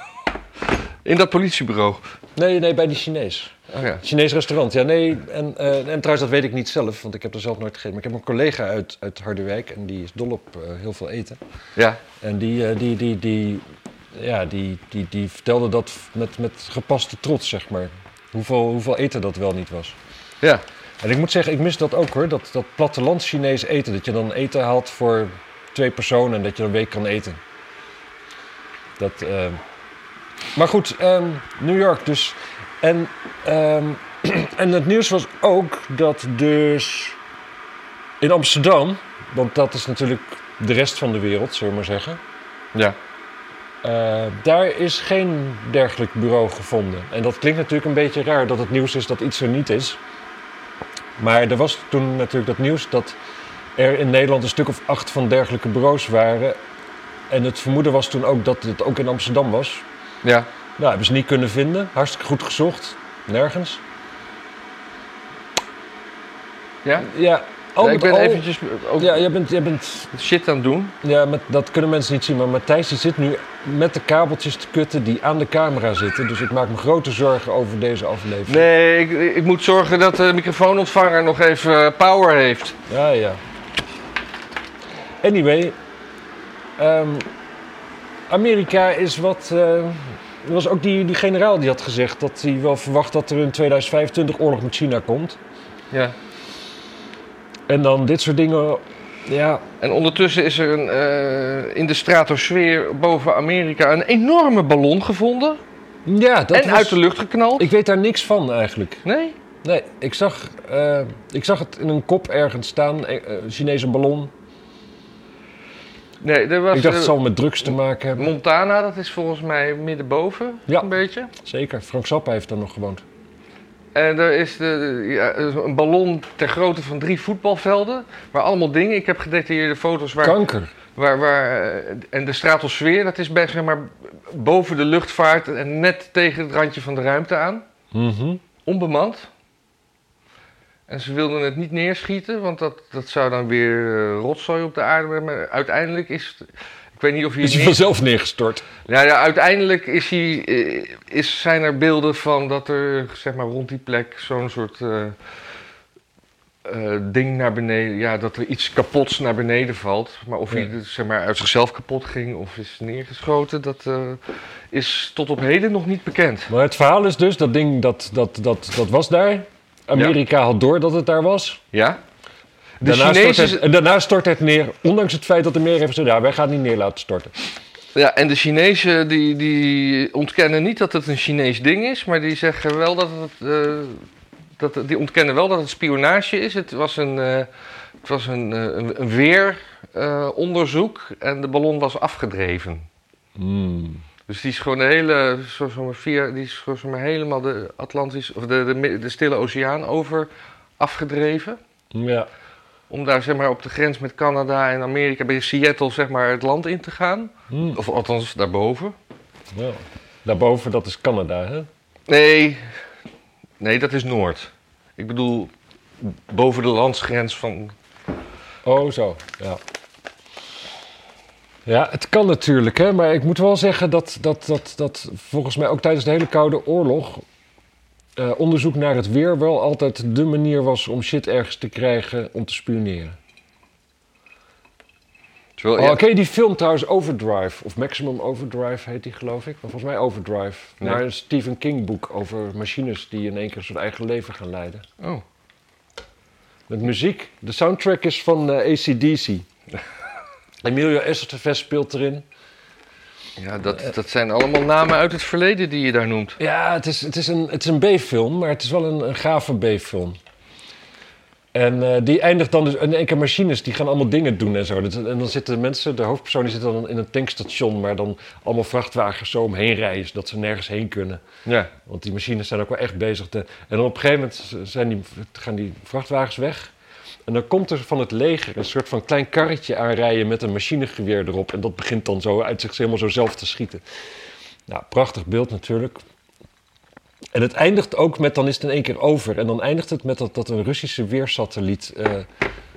[SPEAKER 1] In dat politiebureau.
[SPEAKER 2] Nee, nee, bij die Chinees.
[SPEAKER 1] Oh ja.
[SPEAKER 2] Chinees restaurant, ja, nee. En, eh, en trouwens, dat weet ik niet zelf, want ik heb er zelf nooit gegeten. Maar ik heb een collega uit, uit Harderwijk en die is dol op eh, heel veel eten.
[SPEAKER 1] Ja.
[SPEAKER 2] En die, eh, die, die, die, ja, die, die, die vertelde dat met, met gepaste trots, zeg maar. Hoeveel, hoeveel eten dat wel niet was.
[SPEAKER 1] Ja.
[SPEAKER 2] En ik moet zeggen, ik mis dat ook hoor, dat, dat plattelands Chinees eten. Dat je dan eten haalt voor twee personen en dat je een week kan eten. Dat, ehm, Maar goed, ehm, New York dus. En, ehm, (clears throat) en het nieuws was ook dat dus in Amsterdam, want dat is natuurlijk de rest van de wereld, zullen we maar zeggen.
[SPEAKER 1] Ja.
[SPEAKER 2] Eh, daar is geen dergelijk bureau gevonden. En dat klinkt natuurlijk een beetje raar dat het nieuws is dat iets er niet is. Maar er was toen natuurlijk dat nieuws dat er in Nederland een stuk of acht van dergelijke bureaus waren. En het vermoeden was toen ook dat het ook in Amsterdam was.
[SPEAKER 1] Ja.
[SPEAKER 2] Nou, hebben ze niet kunnen vinden. Hartstikke goed gezocht. Nergens.
[SPEAKER 1] Ja. Oh,
[SPEAKER 2] Ja, al
[SPEAKER 1] Ja, ik
[SPEAKER 2] met
[SPEAKER 1] ben
[SPEAKER 2] al-
[SPEAKER 1] eventjes eh, ook
[SPEAKER 2] Ja, jij bent, jij bent
[SPEAKER 1] shit aan het doen.
[SPEAKER 2] Ja, met, dat kunnen mensen niet zien, maar Matthijs die zit nu met de kabeltjes te kutten die aan de camera zitten. Dus ik maak me grote zorgen over deze aflevering.
[SPEAKER 1] Nee, ik, ik moet zorgen dat de microfoonontvanger nog even eh, power heeft.
[SPEAKER 2] Ja, ja. Anyway, ehm, Amerika is wat. eh, er was ook die, die generaal die had gezegd dat hij wel verwacht dat er in 2025 oorlog met China komt.
[SPEAKER 1] Ja.
[SPEAKER 2] En dan dit soort dingen. Ja,
[SPEAKER 1] En ondertussen is er een, eh, in de stratosfeer boven Amerika een enorme ballon gevonden.
[SPEAKER 2] Ja, dat
[SPEAKER 1] en
[SPEAKER 2] was-
[SPEAKER 1] uit de lucht geknald.
[SPEAKER 2] Ik weet daar niks van eigenlijk.
[SPEAKER 1] Nee?
[SPEAKER 2] Nee, ik zag, eh, ik zag het in een kop ergens staan, eh, eh, Chinese ballon.
[SPEAKER 1] Nee, er was...
[SPEAKER 2] ik dacht,
[SPEAKER 1] eh,
[SPEAKER 2] het zal met drugs te maken hebben.
[SPEAKER 1] Montana, dat is volgens mij middenboven,
[SPEAKER 2] Ja.
[SPEAKER 1] een beetje.
[SPEAKER 2] Zeker, Frank Zappa heeft daar nog gewoond.
[SPEAKER 1] En er is de, de- ja, er is een ballon ter grootte van drie voetbalvelden. Waar allemaal dingen, ik heb gedetailleerde foto's waar...
[SPEAKER 2] Kanker.
[SPEAKER 1] waar, waar eh, en de stratosfeer, dat is bij, zeg maar, boven de luchtvaart en net tegen het randje van de ruimte aan.
[SPEAKER 2] Mhm.
[SPEAKER 1] Onbemand. En ze wilden het niet neerschieten, want dat, dat zou dan weer eh, rotzooi op de aarde brengen. Maar uiteindelijk is... het- Ik weet niet of je...
[SPEAKER 2] Is hij vanzelf neergestort.
[SPEAKER 1] Ja, ja uiteindelijk is hij, eh, is, zijn er beelden van dat er zeg maar, rond die plek zo'n soort eh, eh, ding naar beneden, ja, dat er iets kapots naar beneden valt. Maar of hij
[SPEAKER 2] Ja.
[SPEAKER 1] dus, zeg maar, uit zichzelf kapot ging of is neergeschoten, dat eh, is tot op heden nog niet bekend.
[SPEAKER 2] Maar het verhaal is dus, dat ding, dat, dat, dat, dat was daar. Amerika had door dat het daar was.
[SPEAKER 1] Ja? De
[SPEAKER 2] daarna
[SPEAKER 1] Chinezen...
[SPEAKER 2] stort het, en daarna stort het neer, ondanks het feit dat de meer heeft gezegd... ja, wij gaan het niet neer laten storten.
[SPEAKER 1] Ja, en de Chinezen die, die ontkennen niet dat het een Chinees ding is, maar die zeggen wel dat het. eh, dat, het- die ontkennen wel dat het spionage is. Het was een, eh, het was een, eh, een, een weeronderzoek en de ballon was afgedreven.
[SPEAKER 2] Hmm.
[SPEAKER 1] Dus die is gewoon de hele, zo, zo maar via, die is gewoon zo maar helemaal de Atlantische, of de, de, mi- de Stille Oceaan over afgedreven.
[SPEAKER 2] Ja.
[SPEAKER 1] Om daar zeg maar op de grens met Canada en Amerika, bij Seattle zeg maar het land in te gaan.
[SPEAKER 2] Hmm.
[SPEAKER 1] Of althans daarboven.
[SPEAKER 2] Ja. Daarboven, dat is Canada, hè?
[SPEAKER 1] Nee, nee, dat is Noord. Ik bedoel, boven de landsgrens van...
[SPEAKER 2] Oh, zo. Ja. Ja, het kan natuurlijk, hè. Maar ik moet wel zeggen dat, dat, dat, dat volgens mij ook tijdens de hele Koude Oorlog... eh, onderzoek naar het weer wel altijd de manier was om shit ergens te krijgen om te spioneren.
[SPEAKER 1] Terwijl,
[SPEAKER 2] Oh,
[SPEAKER 1] ja,
[SPEAKER 2] ken je die film trouwens Overdrive? Of Maximum Overdrive heet die, geloof ik. Maar volgens mij Overdrive.
[SPEAKER 1] Nee.
[SPEAKER 2] Naar een Stephen King boek over machines die in één keer hun eigen leven gaan leiden.
[SPEAKER 1] oh.
[SPEAKER 2] Met muziek. De soundtrack is van eh, ACDC. Emilio Estevez speelt erin.
[SPEAKER 1] ja dat, dat zijn allemaal namen uit het verleden die je daar noemt.
[SPEAKER 2] Ja, het is, het is een, het is een B-film, maar het is wel een, een gave B-film. En eh, die eindigt dan dus in één keer machines, die gaan allemaal dingen doen en zo. Dat- En dan zitten mensen, de hoofdpersoon die zit dan in een tankstation... waar dan allemaal vrachtwagens zo omheen rijden, zodat ze nergens heen kunnen.
[SPEAKER 1] Ja.
[SPEAKER 2] Want die machines zijn ook wel echt bezig. Te... En dan op een gegeven moment zijn die, gaan die vrachtwagens weg. En dan komt er van het leger een soort van klein karretje aanrijden met een machinegeweer erop. En dat begint dan zo uit zich helemaal zo zelf te schieten. Nou, prachtig beeld natuurlijk. En het eindigt ook met, dan is het in één keer over. En dan eindigt het met dat, dat een Russische weersatelliet eh,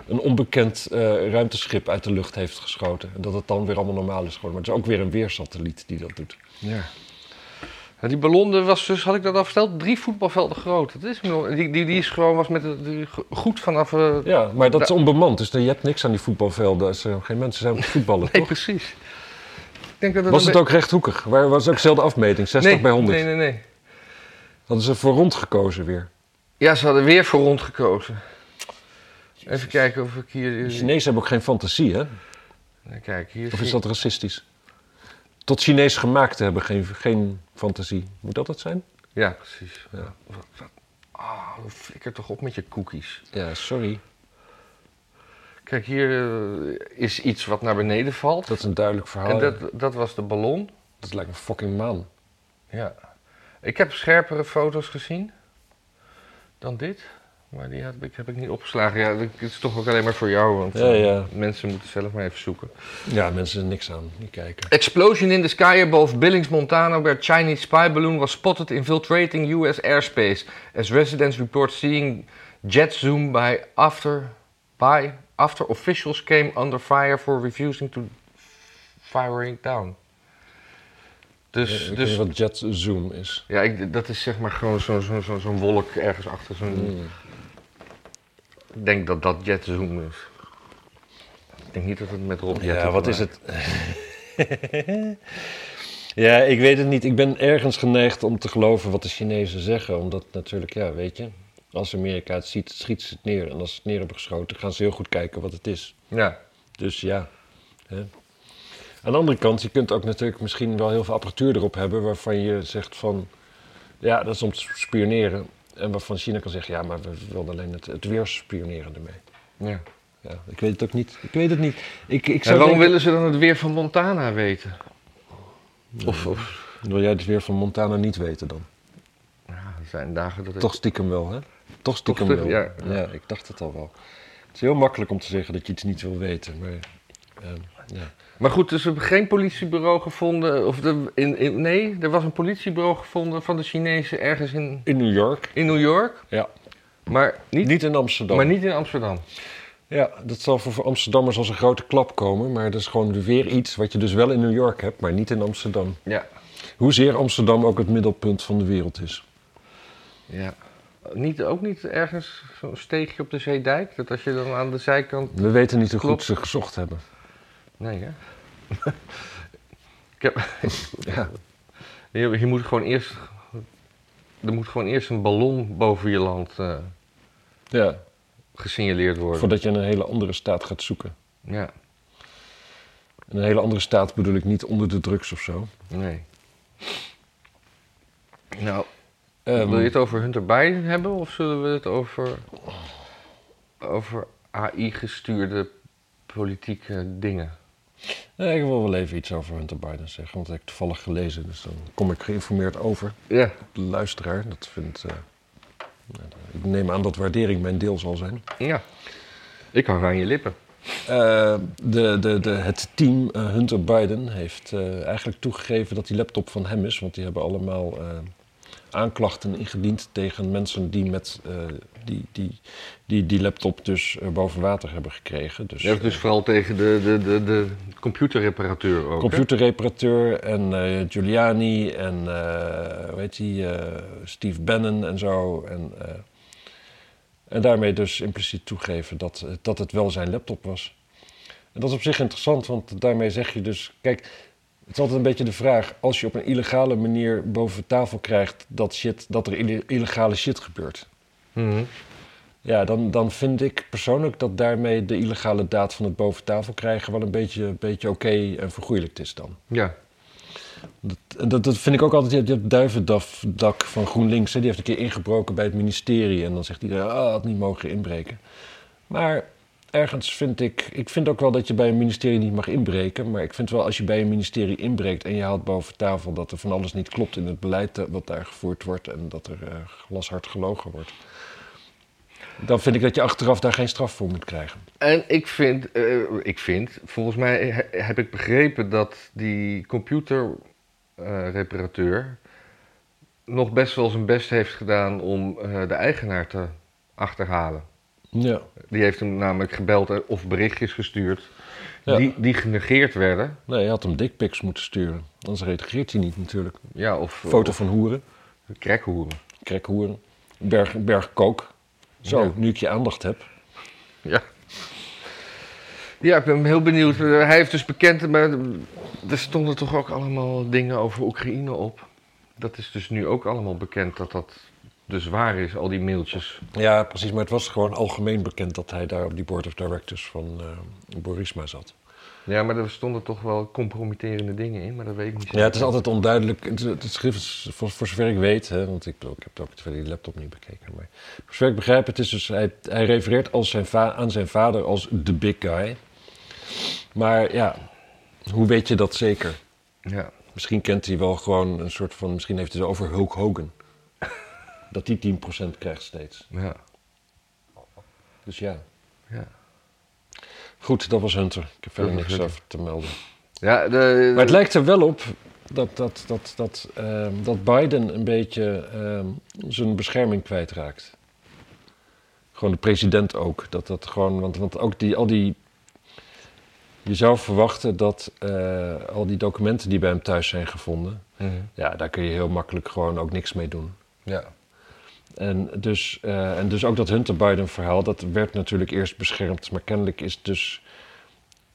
[SPEAKER 2] een onbekend eh, ruimteschip uit de lucht heeft geschoten. En dat het dan weer allemaal normaal is geworden. Maar het is ook weer een weersatelliet die dat doet.
[SPEAKER 1] ja. En die ballon was dus, had ik dat al verteld, drie voetbalvelden groot. Dat is, hem nog- die, die, die is gewoon was met het, die go- goed vanaf... eh,
[SPEAKER 2] Ja, maar dat is onbemand. Dus je hebt niks aan die voetbalvelden als er geen mensen zijn om te voetballen,
[SPEAKER 1] Nee,
[SPEAKER 2] toch?
[SPEAKER 1] precies. Ik denk dat dat
[SPEAKER 2] Was
[SPEAKER 1] een
[SPEAKER 2] het
[SPEAKER 1] be-
[SPEAKER 2] ook rechthoekig? Waar was ook dezelfde afmeting, 60
[SPEAKER 1] nee,
[SPEAKER 2] bij 100?
[SPEAKER 1] Nee, nee, nee.
[SPEAKER 2] Hadden ze voor rond gekozen weer.
[SPEAKER 1] Ja, ze hadden weer voor rond gekozen. Even kijken of ik hier...
[SPEAKER 2] De Chinezen hebben ook geen fantasie, hè?
[SPEAKER 1] Kijk, hier
[SPEAKER 2] Of
[SPEAKER 1] zie-
[SPEAKER 2] is dat racistisch? Tot Chinees gemaakt te hebben geen, geen fantasie. Moet dat het zijn?
[SPEAKER 1] Ja, precies.
[SPEAKER 2] Ja.
[SPEAKER 1] Wat- wat- Ah, flikker toch op met je cookies.
[SPEAKER 2] Ja, sorry.
[SPEAKER 1] Kijk, hier eh, is iets wat naar beneden valt.
[SPEAKER 2] Dat is een duidelijk verhaal.
[SPEAKER 1] en
[SPEAKER 2] dat...
[SPEAKER 1] dat, dat was de ballon.
[SPEAKER 2] lijkt een fucking maan.
[SPEAKER 1] Ja. Ik heb scherpere foto's gezien dan dit. Maar die heb ik, heb ik niet opgeslagen. Ja, dat is toch ook alleen maar voor jou. Want
[SPEAKER 2] Ja, ja.
[SPEAKER 1] eh, mensen moeten zelf maar even zoeken.
[SPEAKER 2] Ja, mensen er niks aan. Niet kijken.
[SPEAKER 1] Explosion in the sky above Billings, Montana, where Chinese spy balloon was spotted infiltrating U.S. airspace, as residents report seeing jet zoom by after by after officials came under fire for refusing to fire it down.
[SPEAKER 2] Ik
[SPEAKER 1] Dus,
[SPEAKER 2] weet
[SPEAKER 1] dus
[SPEAKER 2] niet wat jet zoom is.
[SPEAKER 1] ja, ik, dat is zeg maar gewoon zo'n zo, zo, zo'n wolk ergens achter zo'n.
[SPEAKER 2] Hmm.
[SPEAKER 1] Ik denk dat dat jet zoom is. Ik denk niet dat het met Rob
[SPEAKER 2] Ja, wat is het? (laughs) ja, ik weet het niet. Ik ben ergens geneigd om te geloven wat de Chinezen zeggen. Omdat natuurlijk, ja, weet je, als Amerika het ziet, schiet ze het neer. En als ze het neer hebben geschoten, gaan ze heel goed kijken wat het is.
[SPEAKER 1] Ja.
[SPEAKER 2] Dus ja. Dus Hè. Aan de andere kant, je kunt ook natuurlijk misschien wel heel veel apparatuur erop hebben waarvan je zegt van, ja, dat is om te spioneren. En waarvan China kan zeggen, ja, maar we willen alleen het, het weerspioneren ermee.
[SPEAKER 1] Ja.
[SPEAKER 2] Ja, ik weet het ook niet. Ik weet het niet. Ik, ik
[SPEAKER 1] En
[SPEAKER 2] zou
[SPEAKER 1] waarom
[SPEAKER 2] denken-
[SPEAKER 1] willen ze dan het weer van Montana weten? Of, of
[SPEAKER 2] Wil jij het weer van Montana niet weten dan?
[SPEAKER 1] ja, er zijn dagen dat ik...
[SPEAKER 2] Toch stiekem wel, hè? Toch stiekem
[SPEAKER 1] Toch
[SPEAKER 2] wel.
[SPEAKER 1] stiekem,
[SPEAKER 2] Ja.
[SPEAKER 1] ja.
[SPEAKER 2] ik dacht het al wel. Het is heel makkelijk om te zeggen dat je iets niet wil weten, maar... ehm, ja.
[SPEAKER 1] Maar goed, dus we hebben geen politiebureau gevonden. Of de, in, in- nee, er was een politiebureau gevonden van de Chinezen ergens in,
[SPEAKER 2] In New York?
[SPEAKER 1] in New York.
[SPEAKER 2] Ja.
[SPEAKER 1] Maar niet,
[SPEAKER 2] Niet, in Amsterdam.
[SPEAKER 1] maar niet in Amsterdam.
[SPEAKER 2] Ja, dat zal voor- voor Amsterdammers als een grote klap komen, maar dat is gewoon weer iets wat je dus wel in New York hebt, maar niet in Amsterdam.
[SPEAKER 1] Ja.
[SPEAKER 2] Hoezeer Amsterdam ook het middelpunt van de wereld is.
[SPEAKER 1] ja. Niet, ook niet ergens zo'n steegje op de zeedijk? Dat als je dan aan de zijkant...
[SPEAKER 2] We weten niet hoe
[SPEAKER 1] Klopt.
[SPEAKER 2] goed ze gezocht hebben.
[SPEAKER 1] Nee, hè? (laughs) ik heb,
[SPEAKER 2] Ja.
[SPEAKER 1] je, je moet gewoon eerst... Er moet gewoon eerst een ballon boven je land eh,
[SPEAKER 2] ja,
[SPEAKER 1] gesignaleerd worden.
[SPEAKER 2] voordat je in een hele andere staat gaat zoeken.
[SPEAKER 1] Ja,
[SPEAKER 2] En een hele andere staat bedoel ik niet onder de drugs of zo.
[SPEAKER 1] nee. Nou,
[SPEAKER 2] Ehm,
[SPEAKER 1] Wil je het over Hunter Biden hebben of zullen we het over, over AI-gestuurde politieke dingen?
[SPEAKER 2] nee, ik wil wel even iets over Hunter Biden zeggen, want dat heb ik toevallig gelezen, dus dan kom ik geïnformeerd over.
[SPEAKER 1] Ja.
[SPEAKER 2] De luisteraar, dat vindt... eh, nou, ik neem aan dat waardering mijn deel zal zijn.
[SPEAKER 1] ja. Ik hang aan je lippen.
[SPEAKER 2] Eh, de, de, de, het team eh, Hunter Biden heeft eh, eigenlijk toegegeven dat die laptop van hem is. Want die hebben allemaal eh, aanklachten ingediend tegen mensen die met eh, die, die, die, die laptop dus eh, boven water hebben gekregen. Dus,
[SPEAKER 1] Ja, dus vooral tegen de, de, de, de computerreparateur ook. hè?
[SPEAKER 2] computerreparateur en eh, Giuliani en eh, hoe heet die, eh, Steve Bannon en zo. En, eh, en daarmee dus impliciet toegeven dat, eh, dat het wel zijn laptop was. En dat is op zich interessant, want daarmee zeg je dus... Kijk, het is altijd een beetje de vraag... als je op een illegale manier boven tafel krijgt... dat, shit, dat er ille- illegale shit gebeurt...
[SPEAKER 1] Mhm.
[SPEAKER 2] Ja, dan, dan vind ik persoonlijk dat daarmee de illegale daad van het boven tafel krijgen wel een beetje, een beetje oké en vergoeilijkt is dan.
[SPEAKER 1] Ja.
[SPEAKER 2] Dat, dat, dat vind ik ook altijd. Je hebt, je hebt duivendak van GroenLinks. Hè, die heeft een keer ingebroken bij het ministerie. En dan zegt iedereen, ah, had niet mogen inbreken. Maar ergens vind ik... Ik vind ook wel dat je bij een ministerie niet mag inbreken. Maar ik vind wel als je bij een ministerie inbreekt... en je haalt boven tafel dat er van alles niet klopt in het beleid... eh, wat daar gevoerd wordt en dat er eh, glashard gelogen wordt. Dan vind ik dat je achteraf daar geen straf voor moet krijgen.
[SPEAKER 1] En ik vind, eh, ik vind, volgens mij he- heb ik begrepen dat die computerreparateur nog best wel zijn best heeft gedaan om eh, de eigenaar te achterhalen.
[SPEAKER 2] Ja.
[SPEAKER 1] Die heeft hem namelijk gebeld eh, of berichtjes gestuurd.
[SPEAKER 2] Ja.
[SPEAKER 1] Die, die genegeerd werden.
[SPEAKER 2] Nee, je had hem dickpics moeten sturen. Anders reageert hij niet natuurlijk.
[SPEAKER 1] Ja, of
[SPEAKER 2] Foto
[SPEAKER 1] of
[SPEAKER 2] van hoeren.
[SPEAKER 1] krekhoeren.
[SPEAKER 2] Krekhoeren, Berg, Bergkook. Zo,
[SPEAKER 1] Ja.
[SPEAKER 2] nu ik je aandacht heb.
[SPEAKER 1] Ja. Ja, ik ben heel benieuwd. Eh, Hij heeft dus bekend, maar er stonden toch ook allemaal dingen over Oekraïne op. Dat is dus nu ook allemaal bekend dat dat dus waar is, al die mailtjes.
[SPEAKER 2] Ja, precies. Maar het was gewoon algemeen bekend dat hij daar op die board of directors van eh, Borisma zat.
[SPEAKER 1] Ja, maar er stonden toch wel compromitterende dingen in, maar dat weet ik niet.
[SPEAKER 2] Ja, het is altijd onduidelijk. Het, het schrift is, voor, voor zover ik weet, hè, want ik, bedoel, ik heb het ook verder die laptop niet bekeken. Maar voor zover ik begrijp, het is dus, hij, hij refereert als zijn va- aan zijn vader als de big guy. Maar ja, hoe weet je dat zeker?
[SPEAKER 1] Ja.
[SPEAKER 2] Misschien kent hij wel gewoon een soort van, misschien heeft hij het over Hulk Hogan. (laughs) Dat die 10% krijgt steeds.
[SPEAKER 1] ja.
[SPEAKER 2] Dus ja.
[SPEAKER 1] Ja.
[SPEAKER 2] Goed, dat was Hunter. Ik heb verder
[SPEAKER 1] Dat was
[SPEAKER 2] niks
[SPEAKER 1] Hunter.
[SPEAKER 2] over te melden.
[SPEAKER 1] ja de,
[SPEAKER 2] Maar het lijkt er wel op dat, dat, dat, dat, ehm, dat Biden een beetje ehm, zijn bescherming kwijtraakt. Gewoon de president ook. Dat, dat gewoon, want, want ook die, al die. Je zou verwachten dat eh, al die documenten die bij hem thuis zijn gevonden.
[SPEAKER 1] Mhm.
[SPEAKER 2] Ja, daar kun je heel makkelijk gewoon ook niks mee doen.
[SPEAKER 1] Ja.
[SPEAKER 2] En dus, eh, en dus ook dat Hunter Biden verhaal, dat werd natuurlijk eerst beschermd. Maar kennelijk is dus.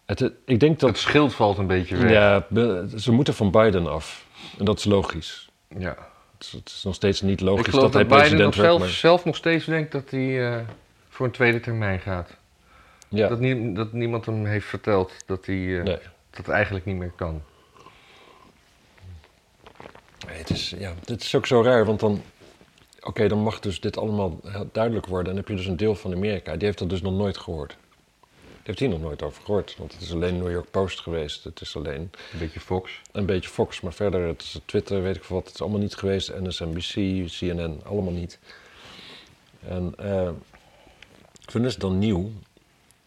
[SPEAKER 2] Het, ik denk
[SPEAKER 1] Dat
[SPEAKER 2] dat.
[SPEAKER 1] schild valt een beetje weg.
[SPEAKER 2] Ja, be- ze moeten van Biden af. En dat is logisch.
[SPEAKER 1] ja.
[SPEAKER 2] Het is, het is nog steeds niet logisch
[SPEAKER 1] ik geloof
[SPEAKER 2] hij
[SPEAKER 1] dat, Biden nog
[SPEAKER 2] president
[SPEAKER 1] zelf,
[SPEAKER 2] werd. maar-
[SPEAKER 1] zelf nog steeds denkt dat hij eh, voor een tweede termijn gaat.
[SPEAKER 2] Ja,
[SPEAKER 1] Dat, nie- dat niemand hem heeft verteld dat hij eh,
[SPEAKER 2] nee.
[SPEAKER 1] het dat eigenlijk niet meer kan.
[SPEAKER 2] Nee, het is, ja, dit is ook zo raar, want dan... Oké, dan mag dus dit allemaal heel duidelijk worden. En dan heb je dus een deel van Amerika, die heeft dat dus nog nooit gehoord. Die heeft hier nog nooit over gehoord, want het is alleen New York Post geweest. Het is alleen
[SPEAKER 1] Een beetje Fox.
[SPEAKER 2] een beetje Fox, maar verder, het is Twitter, weet ik veel wat. Het is allemaal niet geweest. NSNBC, CNN, allemaal niet. En eh voor hun is het dan nieuw.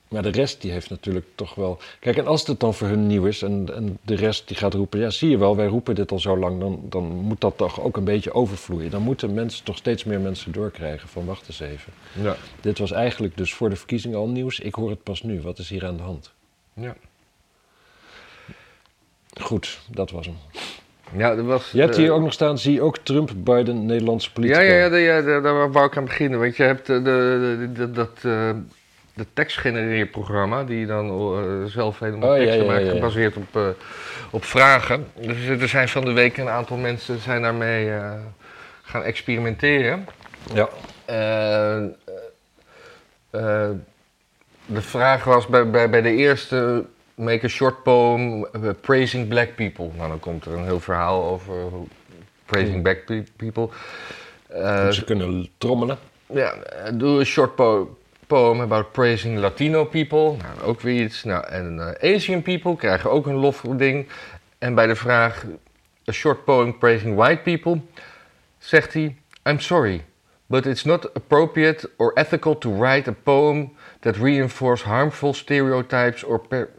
[SPEAKER 2] Maar de rest die heeft natuurlijk toch wel... Kijk, en als het dan voor hun nieuw is en, en de rest die gaat roepen... Ja, zie je wel, wij roepen dit al zo lang. Dan, dan moet dat toch ook een beetje overvloeien. Dan moeten mensen toch steeds meer mensen doorkrijgen van... Wacht eens even.
[SPEAKER 1] Ja.
[SPEAKER 2] Dit was eigenlijk dus voor de verkiezingen al nieuws. Ik hoor het pas nu. Wat is hier aan de hand?
[SPEAKER 1] Ja.
[SPEAKER 2] Goed, dat was hem.
[SPEAKER 1] Ja, dat was...
[SPEAKER 2] Je hebt
[SPEAKER 1] eh,
[SPEAKER 2] hier ook nog staan, zie je ook Trump, Biden, Nederlandse
[SPEAKER 1] Ja,
[SPEAKER 2] politica.
[SPEAKER 1] ja, ja, daar- ja, daar, daar wou ik aan beginnen. Want je hebt eh, de, de, de- dat eh, de tekstgenereerprogramma, die je dan eh, zelf helemaal
[SPEAKER 2] Oh, ja,
[SPEAKER 1] teksten
[SPEAKER 2] ja,
[SPEAKER 1] maakt,
[SPEAKER 2] ja, ja.
[SPEAKER 1] gebaseerd op, eh, op vragen. Dus er zijn van de week een aantal mensen zijn daarmee eh, gaan experimenteren.
[SPEAKER 2] Ja.
[SPEAKER 1] Eh, eh, eh, de vraag was bij, bij, bij de eerste make a short poem eh, praising black people. Nou, dan komt er een heel verhaal over hoe- praising black pe- people. Eh,
[SPEAKER 2] ze kunnen trommelen.
[SPEAKER 1] ja, eh, doe een short po- poem about praising Latino people. Nou, ook weer iets. Nou, en eh, Asian people krijgen ook een lofding. En bij de vraag, a short poem praising white people, zegt hij, I'm sorry, but it's not appropriate or ethical to write a poem that reinforce harmful stereotypes or per-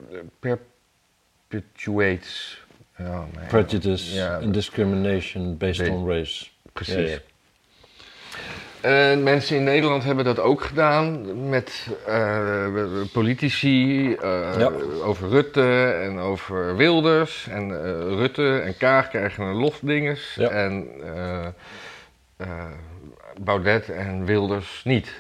[SPEAKER 1] perpetuates. Oh, Ja, nee,
[SPEAKER 2] Prejudice
[SPEAKER 1] Ja.
[SPEAKER 2] and discrimination based
[SPEAKER 1] Nee.
[SPEAKER 2] on race.
[SPEAKER 1] precies.
[SPEAKER 2] Ja, ja.
[SPEAKER 1] En mensen in Nederland hebben dat ook gedaan met eh, politici eh,
[SPEAKER 2] Ja.
[SPEAKER 1] over Rutte en over Wilders. En eh, Rutte en Kaag krijgen een lofdinges
[SPEAKER 2] Ja.
[SPEAKER 1] en eh, eh, Baudet en Wilders niet.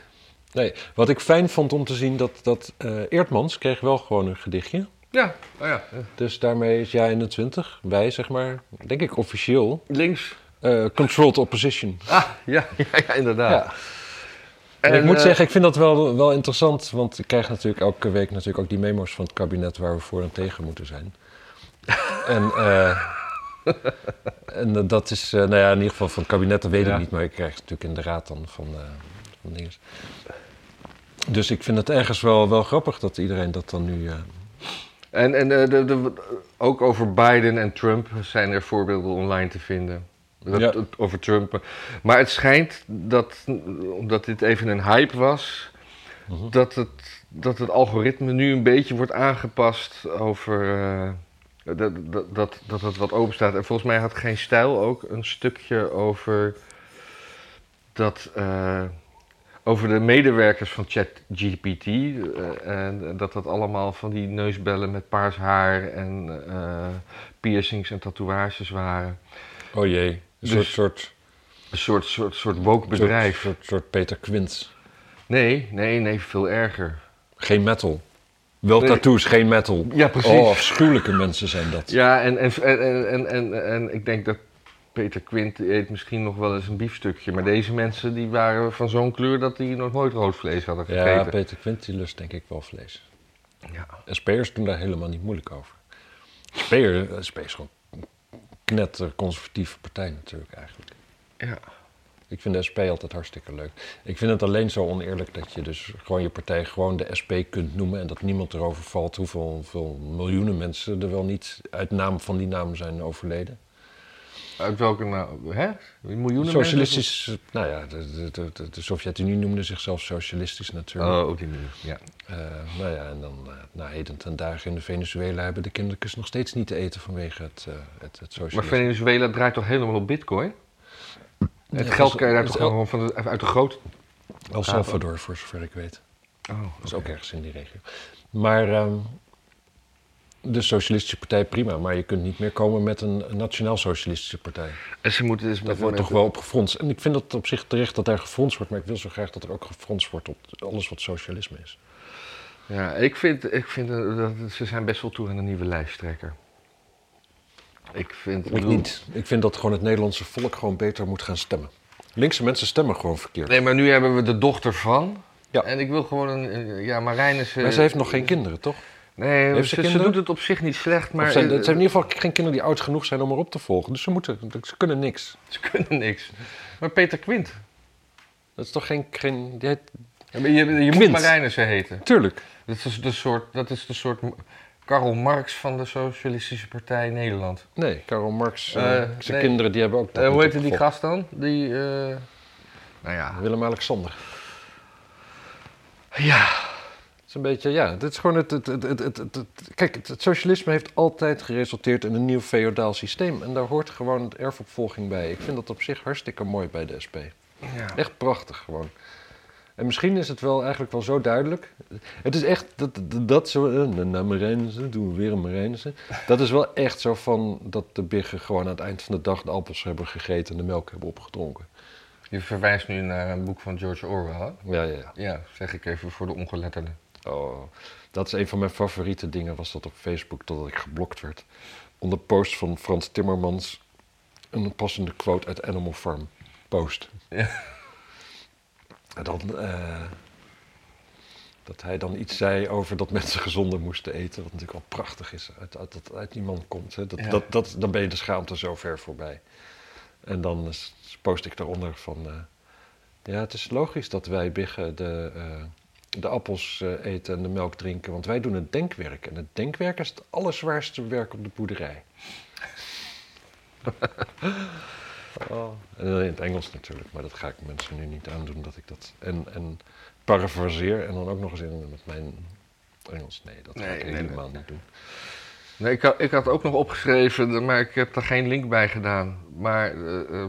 [SPEAKER 2] Nee, wat ik fijn vond om te zien, dat, dat eh, Eertmans kreeg wel gewoon een gedichtje.
[SPEAKER 1] Ja, oh ja.
[SPEAKER 2] Dus daarmee is jij 21, wij zeg maar, denk ik officieel,
[SPEAKER 1] links.
[SPEAKER 2] eh, controlled opposition.
[SPEAKER 1] Ah, ja, (laughs) ja, ja, inderdaad.
[SPEAKER 2] Ja. En
[SPEAKER 1] En,
[SPEAKER 2] ik moet
[SPEAKER 1] eh,
[SPEAKER 2] zeggen, ik vind dat wel, wel interessant, want ik krijg natuurlijk elke week natuurlijk ook die memo's van het kabinet waar we voor en tegen moeten zijn. (laughs) en eh, en eh, dat is, eh, nou ja, in ieder geval van het kabinet, dat weet
[SPEAKER 1] Ja.
[SPEAKER 2] ik niet, maar ik krijg het natuurlijk in de raad dan van, eh, van dingen. Dus ik vind het ergens wel, wel grappig dat iedereen dat dan nu... eh,
[SPEAKER 1] En, en eh, de, de- ook over Biden en Trump zijn er voorbeelden online te vinden. Dat,
[SPEAKER 2] Ja.
[SPEAKER 1] dat- Over Trump. Maar het schijnt dat, omdat dit even een hype was,
[SPEAKER 2] Mhm.
[SPEAKER 1] dat, het, dat het algoritme nu een beetje wordt aangepast over. eh, dat, dat, dat, dat het wat open staat. En volgens mij had geen stijl ook een stukje over. dat. eh, over de medewerkers van ChatGPT. eh, en dat dat allemaal van die neusbellen met paars haar en eh, piercings en tatoeages waren.
[SPEAKER 2] oh jee, een
[SPEAKER 1] Dus-
[SPEAKER 2] soort, soort,
[SPEAKER 1] Een soort, soort, soort woke bedrijf.
[SPEAKER 2] soort, soort, soort Peter Quint.
[SPEAKER 1] Nee, nee, nee, veel erger.
[SPEAKER 2] Geen metal. Wel
[SPEAKER 1] Nee.
[SPEAKER 2] tattoos, geen metal.
[SPEAKER 1] Ja, precies.
[SPEAKER 2] Oh, afschuwelijke mensen zijn dat.
[SPEAKER 1] Ja, en, en, en, en, en, en, en ik denk dat Peter Quint eet misschien nog wel eens een biefstukje. Maar deze mensen die waren van zo'n kleur dat die nog nooit rood vlees hadden
[SPEAKER 2] Ja,
[SPEAKER 1] gegeten.
[SPEAKER 2] Peter Quint die lust denk ik wel vlees.
[SPEAKER 1] Ja.
[SPEAKER 2] SP'ers doen daar helemaal niet moeilijk over. SP'er, SP is gewoon een knetterconservatieve partij natuurlijk eigenlijk.
[SPEAKER 1] Ja.
[SPEAKER 2] Ik vind de SP altijd hartstikke leuk. Ik vind het alleen zo oneerlijk dat je dus gewoon je partij gewoon de SP kunt noemen en dat niemand erover valt hoeveel, hoeveel miljoenen mensen er wel niet uit naam van die naam zijn overleden.
[SPEAKER 1] Uit welke nou? Hè? Miljoenen
[SPEAKER 2] Socialistisch, nou ja, de, de, de- de, de Sovjet-Unie noemde zichzelf socialistisch natuurlijk.
[SPEAKER 1] mensen? Oh, op die manier. Ja.
[SPEAKER 2] Eh, nou ja, en dan eh, na heden ten dagen in de Venezuela hebben de kindertjes nog steeds niet te eten vanwege het, eh het, het
[SPEAKER 1] Maar
[SPEAKER 2] socialisme.
[SPEAKER 1] Venezuela draait toch helemaal op bitcoin? Het
[SPEAKER 2] Ja,
[SPEAKER 1] geld
[SPEAKER 2] dus-
[SPEAKER 1] kan je daar
[SPEAKER 2] dus
[SPEAKER 1] toch
[SPEAKER 2] El-
[SPEAKER 1] gewoon van de- uit de grote...
[SPEAKER 2] El
[SPEAKER 1] Ah,
[SPEAKER 2] Salvador, voor zover ik weet.
[SPEAKER 1] Oh,
[SPEAKER 2] Dat is ook ergens in die regio. Maar ehm, de Socialistische Partij, prima. Maar je kunt niet meer komen met een een Nationaal-Socialistische Partij.
[SPEAKER 1] En ze moeten dus
[SPEAKER 2] Dat wordt toch wel op gefronst. En ik vind het op zich terecht dat daar gefronst wordt. Maar ik wil zo graag dat er ook gefronst wordt op alles wat socialisme is.
[SPEAKER 1] Ja, ik vind, ik vind eh, dat ze zijn best wel toe aan een nieuwe lijsttrekker. Ik vind...
[SPEAKER 2] Ik niet. Ik vind dat gewoon het Nederlandse volk gewoon beter moet gaan stemmen. Linkse mensen stemmen gewoon verkeerd.
[SPEAKER 1] Nee, maar nu hebben we de dochter van.
[SPEAKER 2] Ja.
[SPEAKER 1] En ik wil gewoon een... een- Ja, Marijnissen... eh,
[SPEAKER 2] Maar ze heeft nog geen kinderen, toch?
[SPEAKER 1] Nee,
[SPEAKER 2] Heeft
[SPEAKER 1] ze,
[SPEAKER 2] ze
[SPEAKER 1] ze
[SPEAKER 2] kinderen?
[SPEAKER 1] doet het op zich niet slecht, maar
[SPEAKER 2] Maar zijn,
[SPEAKER 1] eh,
[SPEAKER 2] het zijn in ieder geval geen kinderen die oud genoeg zijn om erop te volgen. Dus ze, moeten, ze kunnen
[SPEAKER 1] (laughs)
[SPEAKER 2] niks.
[SPEAKER 1] ze kunnen niks. Maar Peter Quint.
[SPEAKER 2] Dat is toch geen... geen die heet-
[SPEAKER 1] Je, je moet
[SPEAKER 2] Quint.
[SPEAKER 1] Marijnissen heten.
[SPEAKER 2] Tuurlijk.
[SPEAKER 1] Dat is de soort, dat is de soort Karl Marx van de Socialistische Partij Nederland.
[SPEAKER 2] Nee, Karl Marx, eh,
[SPEAKER 1] Eh,
[SPEAKER 2] zijn
[SPEAKER 1] nee.
[SPEAKER 2] kinderen die hebben ook... dat
[SPEAKER 1] Eh, hoe
[SPEAKER 2] niet
[SPEAKER 1] heette die
[SPEAKER 2] opgevolgd.
[SPEAKER 1] gast dan? Die, eh, nou ja.
[SPEAKER 2] Willem-Alexander.
[SPEAKER 1] Ja.
[SPEAKER 2] Het is een beetje, ja, dit is gewoon het... het, het, het, het, het- het- kijk, het, het socialisme heeft altijd geresulteerd in een nieuw feodaal systeem. En daar hoort gewoon het erfopvolging bij. Ik vind dat op zich hartstikke mooi bij de SP.
[SPEAKER 1] ja.
[SPEAKER 2] Echt prachtig gewoon. En misschien is het wel eigenlijk wel zo duidelijk. Het is echt dat, dat, dat zo. eh, Na Marijnissen doen we weer een Marijnissen. Dat is wel echt zo van dat de biggen gewoon aan het eind van de dag de appels hebben gegeten en de melk hebben opgedronken.
[SPEAKER 1] Je verwijst nu naar een boek van George Orwell. hè?
[SPEAKER 2] Ja, ja, ja.
[SPEAKER 1] Ja, zeg ik even voor de ongeletterden.
[SPEAKER 2] Oh, dat is een van mijn favoriete dingen, was dat op Facebook, totdat ik geblokt werd. Onder post van Frans Timmermans, een passende quote uit Animal Farm. Post.
[SPEAKER 1] Ja.
[SPEAKER 2] En dan, eh, dat hij dan iets zei over dat mensen (laughs) gezonder moesten eten, wat natuurlijk wel prachtig is, uit, uit, dat uit die man komt. Hè. Dat,
[SPEAKER 1] Ja.
[SPEAKER 2] dat, dat, dan ben je de schaamte zo ver voorbij. En dan eh, post ik daaronder van... eh, ja, het is logisch dat wij biggen de, eh, de appels eh, eten en de melk drinken, want wij doen het denkwerk. En het denkwerk is het allerzwaarste werk op de
[SPEAKER 1] (laughs)
[SPEAKER 2] boerderij. oh. En dan in het Engels natuurlijk, maar dat ga ik mensen nu niet aandoen dat ik dat. En, en parafraseer en dan ook nog eens in met mijn Engels. Nee, dat ga
[SPEAKER 1] Nee,
[SPEAKER 2] ik
[SPEAKER 1] nee,
[SPEAKER 2] helemaal
[SPEAKER 1] nee.
[SPEAKER 2] niet doen.
[SPEAKER 1] Nee, ik, had, ik had ook nog opgeschreven, maar ik heb er geen link bij gedaan. Maar eh, eh,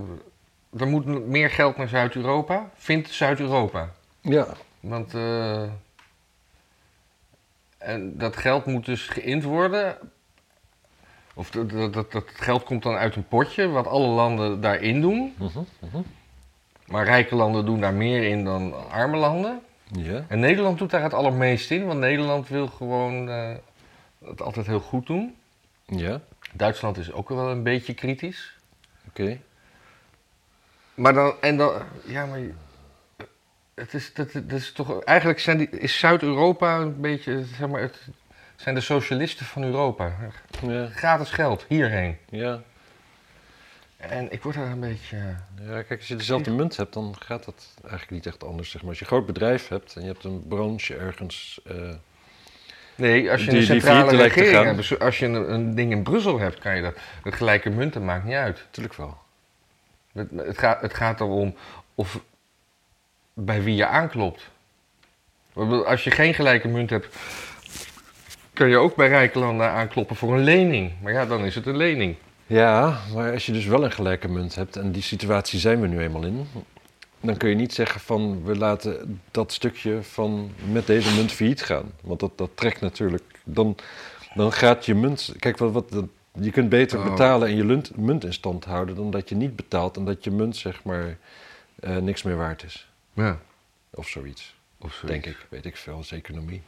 [SPEAKER 1] er moet meer geld naar Zuid-Europa. Vindt Zuid-Europa.
[SPEAKER 2] Ja,
[SPEAKER 1] Want eh, en dat geld moet dus geïnd worden. Of dat, dat, dat, dat geld komt dan uit een potje, wat alle landen daarin doen.
[SPEAKER 2] mhm, mhm.
[SPEAKER 1] Maar rijke landen doen daar meer in dan arme landen.
[SPEAKER 2] ja.
[SPEAKER 1] En Nederland doet daar het allermeest in, want Nederland wil gewoon eh, het altijd heel goed doen.
[SPEAKER 2] ja.
[SPEAKER 1] Duitsland is ook wel een beetje kritisch.
[SPEAKER 2] oké.
[SPEAKER 1] Maar dan, en dan, ja, maar. Het is, dat, dat is toch, eigenlijk zijn die, is Zuid-Europa een beetje, zeg maar, het zijn de socialisten van Europa.
[SPEAKER 2] Ja,
[SPEAKER 1] Gratis geld, hierheen.
[SPEAKER 2] ja.
[SPEAKER 1] En ik word daar een beetje.
[SPEAKER 2] Ja, kijk, als je dezelfde munt hebt, dan gaat dat eigenlijk niet echt anders. Zeg maar. Als je een groot bedrijf hebt en je hebt een branche ergens. eh,
[SPEAKER 1] Nee, als je
[SPEAKER 2] Die-
[SPEAKER 1] een
[SPEAKER 2] die
[SPEAKER 1] centrale
[SPEAKER 2] failliet lijkt te
[SPEAKER 1] regering
[SPEAKER 2] gaan.
[SPEAKER 1] hebt, zo- als je een, een ding in Brussel hebt, kan je dat. Het gelijke munten maakt niet uit.
[SPEAKER 2] natuurlijk wel.
[SPEAKER 1] Het, het, gaat, het gaat erom of bij wie je aanklopt. Ik bedoel, Als je geen gelijke munt hebt, kun je ook bij rijke landen aankloppen voor een lening. Maar ja, dan is het een lening.
[SPEAKER 2] Ja, maar als je dus wel een gelijke munt hebt, en die situatie zijn we nu eenmaal in, dan kun je niet zeggen van we laten dat stukje van met deze munt failliet gaan. Want dat, dat trekt natuurlijk. Dan, dan gaat je munt. Kijk, wat, wat, dat- je kunt beter
[SPEAKER 1] Oh.
[SPEAKER 2] betalen en je lunt- munt in stand houden dan dat je niet betaalt en dat je munt zeg maar eh, niks meer waard is.
[SPEAKER 1] Ja,
[SPEAKER 2] Of zoiets.
[SPEAKER 1] of zo.
[SPEAKER 2] Denk ik, weet ik veel, als economie.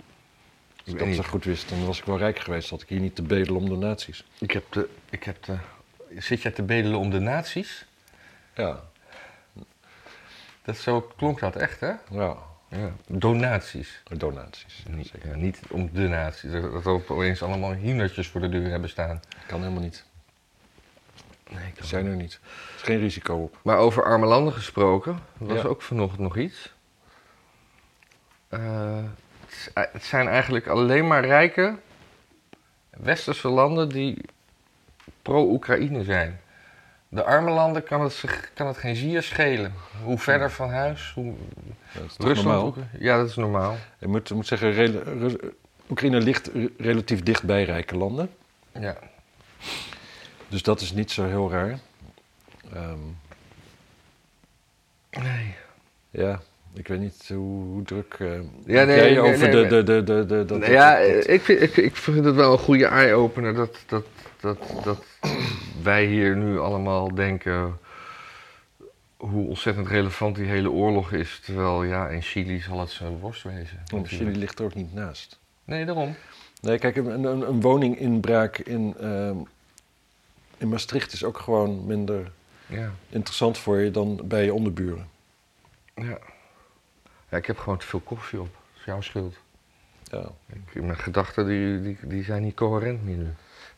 [SPEAKER 2] Als
[SPEAKER 1] weet
[SPEAKER 2] ik dat
[SPEAKER 1] niet.
[SPEAKER 2] zo goed wist, dan was ik wel rijk geweest. Had ik hier niet te bedelen om donaties.
[SPEAKER 1] Ik heb de, ik heb de, zit jij te bedelen om de nazi's?
[SPEAKER 2] Ja,
[SPEAKER 1] Dat zo klonk dat echt, hè?
[SPEAKER 2] ja,
[SPEAKER 1] Ja. Donaties.
[SPEAKER 2] donaties.
[SPEAKER 1] Niet,
[SPEAKER 2] Zeker.
[SPEAKER 1] ja, niet om de nazi's. Dat dat we opeens allemaal hymnertjes voor de deur hebben staan.
[SPEAKER 2] Kan helemaal niet.
[SPEAKER 1] Nee,
[SPEAKER 2] Die zijn er niet. Er is geen risico op.
[SPEAKER 1] Maar over arme landen gesproken, er was
[SPEAKER 2] Ja.
[SPEAKER 1] ook vanochtend nog iets. Eh, het is- het zijn eigenlijk alleen maar rijke westerse landen die pro-Oekraïne zijn. De arme landen kan het, zich- kan het geen zier schelen. Hoe verder van huis, hoe
[SPEAKER 2] Dat is toch
[SPEAKER 1] Rusland.
[SPEAKER 2] normaal?
[SPEAKER 1] Oekra- Ja, dat is normaal.
[SPEAKER 2] Ik moet, ik moet zeggen, rela- Ru- Oekraïne ligt re- relatief dicht bij rijke landen.
[SPEAKER 1] Ja.
[SPEAKER 2] Dus dat is niet zo heel raar. Ehm,
[SPEAKER 1] Nee.
[SPEAKER 2] ja, ik weet niet hoe, hoe druk... eh
[SPEAKER 1] nee,
[SPEAKER 2] heb jij je
[SPEAKER 1] nee,
[SPEAKER 2] over
[SPEAKER 1] nee,
[SPEAKER 2] de... de, de, de, de, dat- dat-
[SPEAKER 1] ja,
[SPEAKER 2] dat-
[SPEAKER 1] eh, ik vind, ik, ik vind het wel een goede eye-opener dat, dat, dat, dat wij hier nu allemaal denken hoe ontzettend relevant die hele oorlog is. Terwijl ja, in Chili zal het zijn worst wezen.
[SPEAKER 2] Want Oh, Chili ligt er ook niet naast.
[SPEAKER 1] Nee, daarom.
[SPEAKER 2] Nee, kijk, een, een, een woninginbraak in, ehm, in Maastricht is ook gewoon minder
[SPEAKER 1] Ja.
[SPEAKER 2] interessant voor je dan bij je onderburen.
[SPEAKER 1] Ja. ja, ik heb gewoon te veel koffie op. Dat is jouw schuld.
[SPEAKER 2] Ja, Ja.
[SPEAKER 1] Ik- mijn gedachten die, die, die zijn niet coherent meer nu.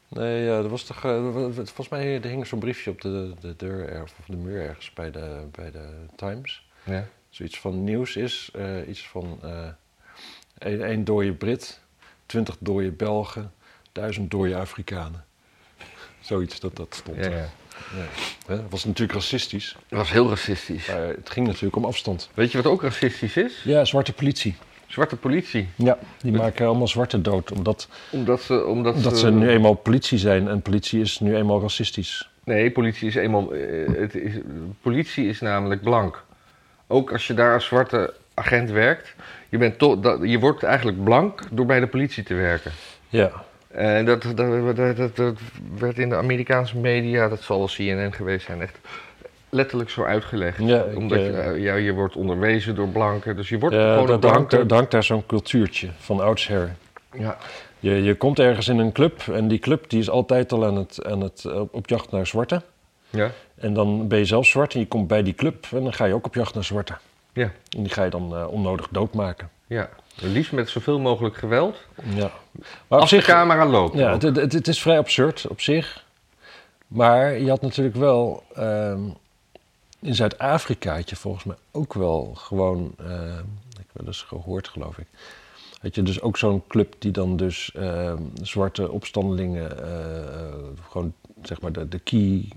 [SPEAKER 2] Nee, ja, er was toch, eh, w- w- volgens mij er hing zo'n briefje op de, de deur ergens, of de muur ergens bij de, bij de Times.
[SPEAKER 1] Ja?
[SPEAKER 2] Zoiets van nieuws is eh, iets van eh één, één dode Brit, twintig dode Belgen, duizend dode Afrikanen. Zoiets dat dat stond.
[SPEAKER 1] Ja,
[SPEAKER 2] er.
[SPEAKER 1] ja.
[SPEAKER 2] Ja. Hè, Het was natuurlijk racistisch,
[SPEAKER 1] Dat was heel racistisch.
[SPEAKER 2] maar het ging natuurlijk om afstand.
[SPEAKER 1] Weet je wat ook racistisch is?
[SPEAKER 2] Ja, zwarte politie.
[SPEAKER 1] Zwarte politie.
[SPEAKER 2] Ja, die maken allemaal zwarte dood, omdat,
[SPEAKER 1] Omdat ze... Omdat
[SPEAKER 2] omdat ze nu eenmaal politie zijn en politie is nu eenmaal racistisch.
[SPEAKER 1] Nee, politie is eenmaal... eh, het is, politie is namelijk blank. Ook als je daar als zwarte agent werkt... Je, bent toch dat, je wordt eigenlijk blank door bij de politie te werken.
[SPEAKER 2] Ja,
[SPEAKER 1] En dat, dat, dat, dat, dat werd in de Amerikaanse media, dat zal wel CNN geweest zijn, echt letterlijk zo uitgelegd.
[SPEAKER 2] Ja, ik,
[SPEAKER 1] Omdat je,
[SPEAKER 2] eh,
[SPEAKER 1] eh, ja, je wordt onderwezen door blanken, dus je wordt
[SPEAKER 2] Ja,
[SPEAKER 1] gewoon een
[SPEAKER 2] daar, daar hangt,
[SPEAKER 1] blanke.
[SPEAKER 2] daar hangt daar zo'n cultuurtje van oudsher.
[SPEAKER 1] Ja,
[SPEAKER 2] Je, je komt ergens in een club en die club die is altijd al aan het, aan het, eh, op jacht naar zwarte.
[SPEAKER 1] ja,
[SPEAKER 2] En dan ben je zelf zwart en je komt bij die club en dan ga je ook op jacht naar zwarte.
[SPEAKER 1] ja,
[SPEAKER 2] En die ga je dan eh, onnodig doodmaken.
[SPEAKER 1] ja. Liefst met zoveel mogelijk geweld.
[SPEAKER 2] Ja. Maar op
[SPEAKER 1] Als de
[SPEAKER 2] zich,
[SPEAKER 1] camera loopt.
[SPEAKER 2] ja,
[SPEAKER 1] ook.
[SPEAKER 2] het, het, het is vrij absurd op zich. Maar je had natuurlijk wel, ehm, in Zuid-Afrika had je volgens mij ook wel gewoon, ehm, ik heb wel eens gehoord geloof ik, had je dus ook zo'n club die dan dus ehm, zwarte opstandelingen, eh, eh, gewoon zeg maar de, de key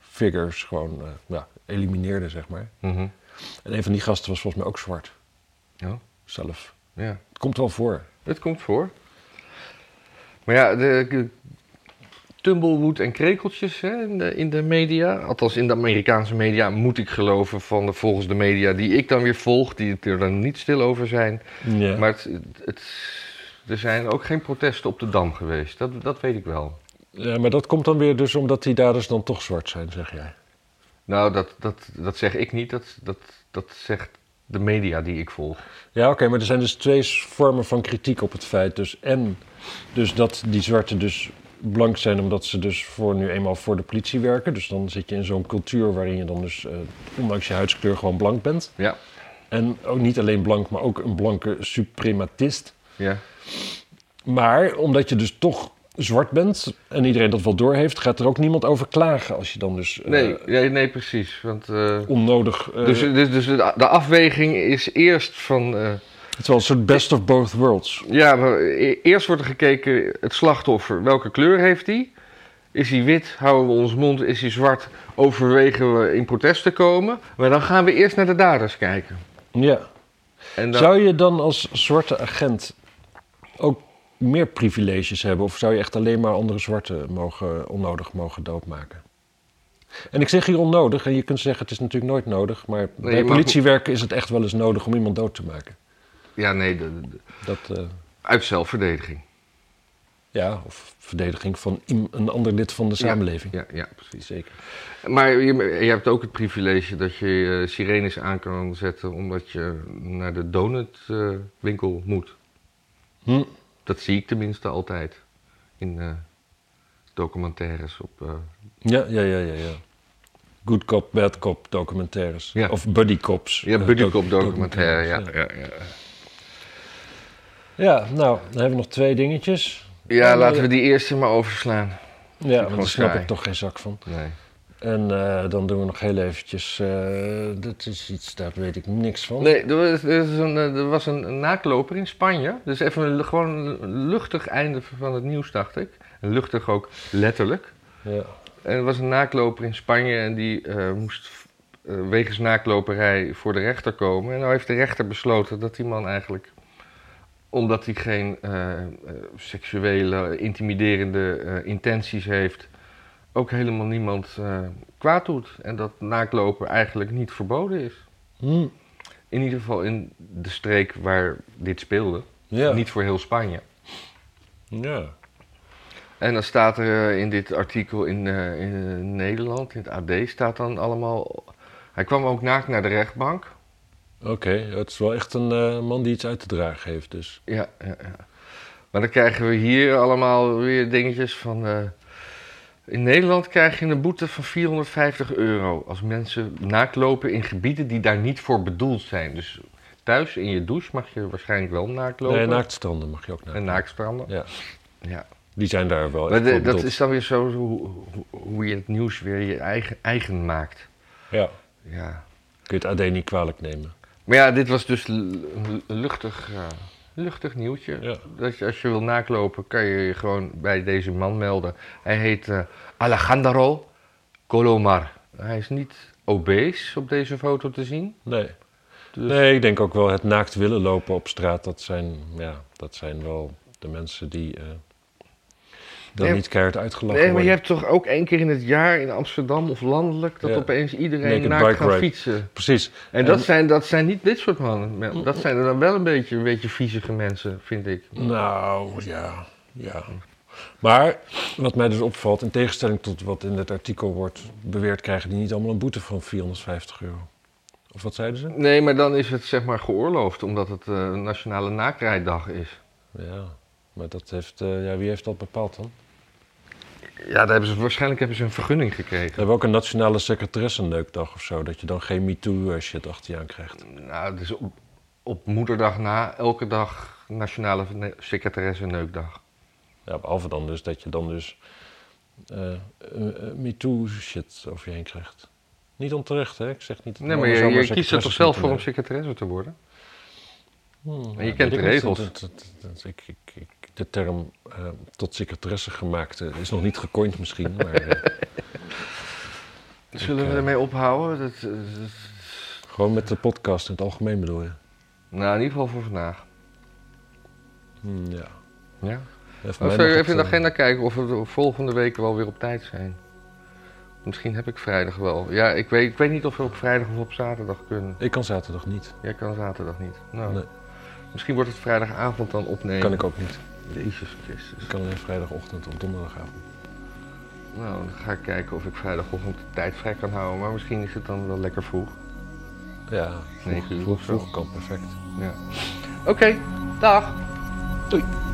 [SPEAKER 2] figures gewoon eh, ja, elimineerde zeg maar.
[SPEAKER 1] Mhm.
[SPEAKER 2] En een van die gasten was volgens mij ook zwart
[SPEAKER 1] ja.
[SPEAKER 2] zelf.
[SPEAKER 1] ja.
[SPEAKER 2] Het komt wel voor.
[SPEAKER 1] Het komt voor. Maar ja, de, de tumbleweed en krekeltjes hè, in, de, in de media. Althans, in de Amerikaanse media moet ik geloven van de, volgens de media die ik dan weer volg, die het er dan niet stil over zijn.
[SPEAKER 2] Ja.
[SPEAKER 1] Maar het, het, er zijn ook geen protesten op de Dam geweest. Dat, dat weet ik wel.
[SPEAKER 2] Ja, maar dat komt dan weer dus omdat die daders dan toch zwart zijn, zeg jij.
[SPEAKER 1] Nou, dat, dat, dat zeg ik niet. Dat, dat, dat zegt de media die ik volg.
[SPEAKER 2] Ja, oké, maar er zijn dus twee s- vormen van kritiek op het feit. Dus en dus dat die zwarten dus blank zijn omdat ze dus voor nu eenmaal voor de politie werken. Dus dan zit je in zo'n cultuur waarin je dan dus eh, ondanks je huidskleur gewoon blank bent.
[SPEAKER 1] Ja.
[SPEAKER 2] En ook niet alleen blank, maar ook een blanke suprematist.
[SPEAKER 1] Ja.
[SPEAKER 2] Maar omdat je dus toch zwart bent en iedereen dat wel doorheeft, gaat er ook niemand over klagen als je dan dus eh,
[SPEAKER 1] Nee, nee, nee, precies. Want, eh,
[SPEAKER 2] onnodig... eh,
[SPEAKER 1] dus dus, dus de, de afweging is eerst van. eh,
[SPEAKER 2] het is wel een soort best of both worlds.
[SPEAKER 1] Ja, maar e- eerst wordt er gekeken het slachtoffer. Welke kleur heeft hij? Is hij wit? Houden we ons mond? Is hij zwart? Overwegen we in protest te komen? Maar dan gaan we eerst naar de daders kijken.
[SPEAKER 2] Ja.
[SPEAKER 1] En dan,
[SPEAKER 2] Zou je dan als zwarte agent ook meer privileges hebben? Of zou je echt alleen maar andere zwarten mogen, onnodig mogen doodmaken? En ik zeg hier onnodig, en je kunt zeggen het is natuurlijk nooit nodig, maar bij
[SPEAKER 1] je mag-
[SPEAKER 2] politiewerken is het echt wel eens nodig om iemand dood te maken.
[SPEAKER 1] Ja, nee, de- de-
[SPEAKER 2] Dat, eh,
[SPEAKER 1] uit zelfverdediging.
[SPEAKER 2] ja, of verdediging van iem- een ander lid van de samenleving.
[SPEAKER 1] Ja, ja, precies.
[SPEAKER 2] Zeker.
[SPEAKER 1] Maar je, je hebt ook het privilege dat je eh, sirenes aan kan zetten omdat je naar de donutwinkel eh, moet.
[SPEAKER 2] Hm.
[SPEAKER 1] Dat zie ik tenminste altijd in eh, documentaires op. eh,
[SPEAKER 2] Ja, ja, ja, ja, ja. Good cop, bad cop documentaires.
[SPEAKER 1] Ja.
[SPEAKER 2] Of buddy cops.
[SPEAKER 1] ja,
[SPEAKER 2] eh,
[SPEAKER 1] buddycop
[SPEAKER 2] doc-
[SPEAKER 1] documentaire.
[SPEAKER 2] documentaires,
[SPEAKER 1] ja, ja, ja.
[SPEAKER 2] Ja, nou, dan hebben we nog twee dingetjes.
[SPEAKER 1] Ja,
[SPEAKER 2] Ja,
[SPEAKER 1] laten we
[SPEAKER 2] maar-
[SPEAKER 1] die eerste maar overslaan.
[SPEAKER 2] Ja, want
[SPEAKER 1] gewoon
[SPEAKER 2] daar snap
[SPEAKER 1] saai.
[SPEAKER 2] ik toch geen zak van.
[SPEAKER 1] Nee.
[SPEAKER 2] En eh, dan doen we nog heel eventjes... eh, dat is iets, daar weet ik niks van.
[SPEAKER 1] Nee, er was, er is een, eh, er was een, een nakloper in Spanje. Dus even een, lu- gewoon een luchtig einde van het nieuws, dacht ik. En luchtig ook letterlijk.
[SPEAKER 2] Ja.
[SPEAKER 1] En er was een nakloper in Spanje en die eh, moest eh, wegens nakloperij voor de rechter komen. En nou heeft de rechter besloten dat die man eigenlijk omdat hij geen eh, eh, seksuele, intimiderende eh, intenties heeft, ook helemaal niemand eh, kwaad doet. En dat naklopen eigenlijk niet verboden is.
[SPEAKER 2] Hm,
[SPEAKER 1] In ieder geval in de streek waar dit speelde.
[SPEAKER 2] ja.
[SPEAKER 1] Niet voor heel Spanje.
[SPEAKER 2] ja.
[SPEAKER 1] En dan staat er eh, in dit artikel in, eh, in eh, Nederland, in het AD, staat dan allemaal... Hij kwam ook naakt naar de rechtbank.
[SPEAKER 2] Oké, het is wel echt een eh, man die iets uit te dragen heeft dus.
[SPEAKER 1] Ja, ja, ja. Maar dan krijgen we hier allemaal weer dingetjes van... eh, in Nederland krijg je een boete van 450 euro als mensen naaktlopen in gebieden die daar niet voor bedoeld zijn. Dus thuis in je douche mag je waarschijnlijk wel naakt lopen.
[SPEAKER 2] Nee, naaktstranden mag je ook naar.
[SPEAKER 1] En naakstranden.
[SPEAKER 2] Ja.
[SPEAKER 1] Ja.
[SPEAKER 2] Die zijn daar wel
[SPEAKER 1] Maar
[SPEAKER 2] echt
[SPEAKER 1] de-
[SPEAKER 2] voor
[SPEAKER 1] dat
[SPEAKER 2] bedoeld.
[SPEAKER 1] is dan weer zo hoe, hoe- hoe je het nieuws weer je eigen, eigen maakt.
[SPEAKER 2] Ja,
[SPEAKER 1] Ja.
[SPEAKER 2] kun je het AD niet kwalijk nemen.
[SPEAKER 1] Maar ja, dit was dus l- een luchtig, eh, luchtig nieuwtje.
[SPEAKER 2] Ja.
[SPEAKER 1] Dat je, als je wil naklopen, kan je je gewoon bij deze man melden. Hij heet eh, Alejandro Colomar. Hij is niet obese op deze foto te zien.
[SPEAKER 2] Nee.
[SPEAKER 1] Dus-
[SPEAKER 2] nee, ik denk ook wel het naakt willen lopen op straat, dat zijn, ja, dat zijn wel de mensen die eh dan
[SPEAKER 1] Nee,
[SPEAKER 2] niet keihard uitgelachen
[SPEAKER 1] Nee, maar je
[SPEAKER 2] worden.
[SPEAKER 1] hebt toch ook één keer in het jaar in Amsterdam of landelijk... dat
[SPEAKER 2] Ja.
[SPEAKER 1] opeens iedereen
[SPEAKER 2] Naked
[SPEAKER 1] naakt
[SPEAKER 2] bike
[SPEAKER 1] gaat
[SPEAKER 2] ride.
[SPEAKER 1] fietsen.
[SPEAKER 2] Precies.
[SPEAKER 1] En dat
[SPEAKER 2] En- Mm.
[SPEAKER 1] zijn, dat zijn niet dit soort mannen. Dat zijn er dan wel een beetje, een beetje viezige mensen, vind ik.
[SPEAKER 2] Nou, ja, ja. Maar wat mij dus opvalt, in tegenstelling tot wat in het artikel wordt beweerd, krijgen die niet allemaal een boete van 450 euro. Of wat zeiden ze?
[SPEAKER 1] Nee, maar dan is het zeg maar geoorloofd, omdat het eh, een nationale naakrijddag is.
[SPEAKER 2] Ja, maar dat heeft, eh, ja, wie heeft dat bepaald dan?
[SPEAKER 1] Ja, daar hebben ze, waarschijnlijk hebben ze een vergunning gekregen.
[SPEAKER 2] We hebben ook een nationale secretaressenleukdag of zo, dat je dan geen MeToo-shit achter je aan krijgt.
[SPEAKER 1] Nou, dus op, op moederdag na, elke dag nationale ne- secretaresse neukdag.
[SPEAKER 2] Ja, behalve dan dus dat je dan dus eh MeToo-shit over je heen krijgt. Niet onterecht, hè? Ik zeg niet... dat
[SPEAKER 1] Nee, maar
[SPEAKER 2] mannen
[SPEAKER 1] je,
[SPEAKER 2] zomaar
[SPEAKER 1] je kiest er toch
[SPEAKER 2] secretaresses
[SPEAKER 1] zelf
[SPEAKER 2] moeten
[SPEAKER 1] voor om
[SPEAKER 2] worden.
[SPEAKER 1] secretaresse te worden?
[SPEAKER 2] Hmm,
[SPEAKER 1] En je
[SPEAKER 2] ja,
[SPEAKER 1] kent
[SPEAKER 2] weet
[SPEAKER 1] de
[SPEAKER 2] ik
[SPEAKER 1] regels.
[SPEAKER 2] niet. Dat- dat- dat- ik- ik- ik- De term eh, tot secretaresse gemaakt eh, is nog niet
[SPEAKER 1] (laughs)
[SPEAKER 2] gecoind misschien, maar eh,
[SPEAKER 1] Zullen
[SPEAKER 2] Ik,
[SPEAKER 1] we
[SPEAKER 2] eh,
[SPEAKER 1] ermee ophouden? Dat, eh, dat- dat-
[SPEAKER 2] gewoon met de podcast in het algemeen bedoel je.
[SPEAKER 1] nou, in ieder geval voor vandaag.
[SPEAKER 2] Hmm, ja.
[SPEAKER 1] Ja.
[SPEAKER 2] Ja, voor
[SPEAKER 1] Zullen
[SPEAKER 2] mij
[SPEAKER 1] we
[SPEAKER 2] mag
[SPEAKER 1] even in de
[SPEAKER 2] het, eh,
[SPEAKER 1] agenda kijken of we volgende week wel weer op tijd zijn? Misschien heb ik vrijdag wel. Ja, ik weet, ik weet niet of we op vrijdag of op zaterdag kunnen.
[SPEAKER 2] Ik kan zaterdag niet.
[SPEAKER 1] Jij kan zaterdag niet. Nou,
[SPEAKER 2] Nee.
[SPEAKER 1] Misschien wordt het vrijdagavond dan opnemen.
[SPEAKER 2] Kan ik ook niet.
[SPEAKER 1] Jezus Christus.
[SPEAKER 2] Ik kan alleen vrijdagochtend of donderdagavond.
[SPEAKER 1] Nou, dan ga ik kijken of ik vrijdagochtend de tijd vrij kan houden. Maar misschien is het dan wel lekker vroeg.
[SPEAKER 2] Ja,
[SPEAKER 1] Negen uur
[SPEAKER 2] vroeg,
[SPEAKER 1] of zo.
[SPEAKER 2] vroeg kan perfect.
[SPEAKER 1] Ja. Oké, dag.
[SPEAKER 2] Doei.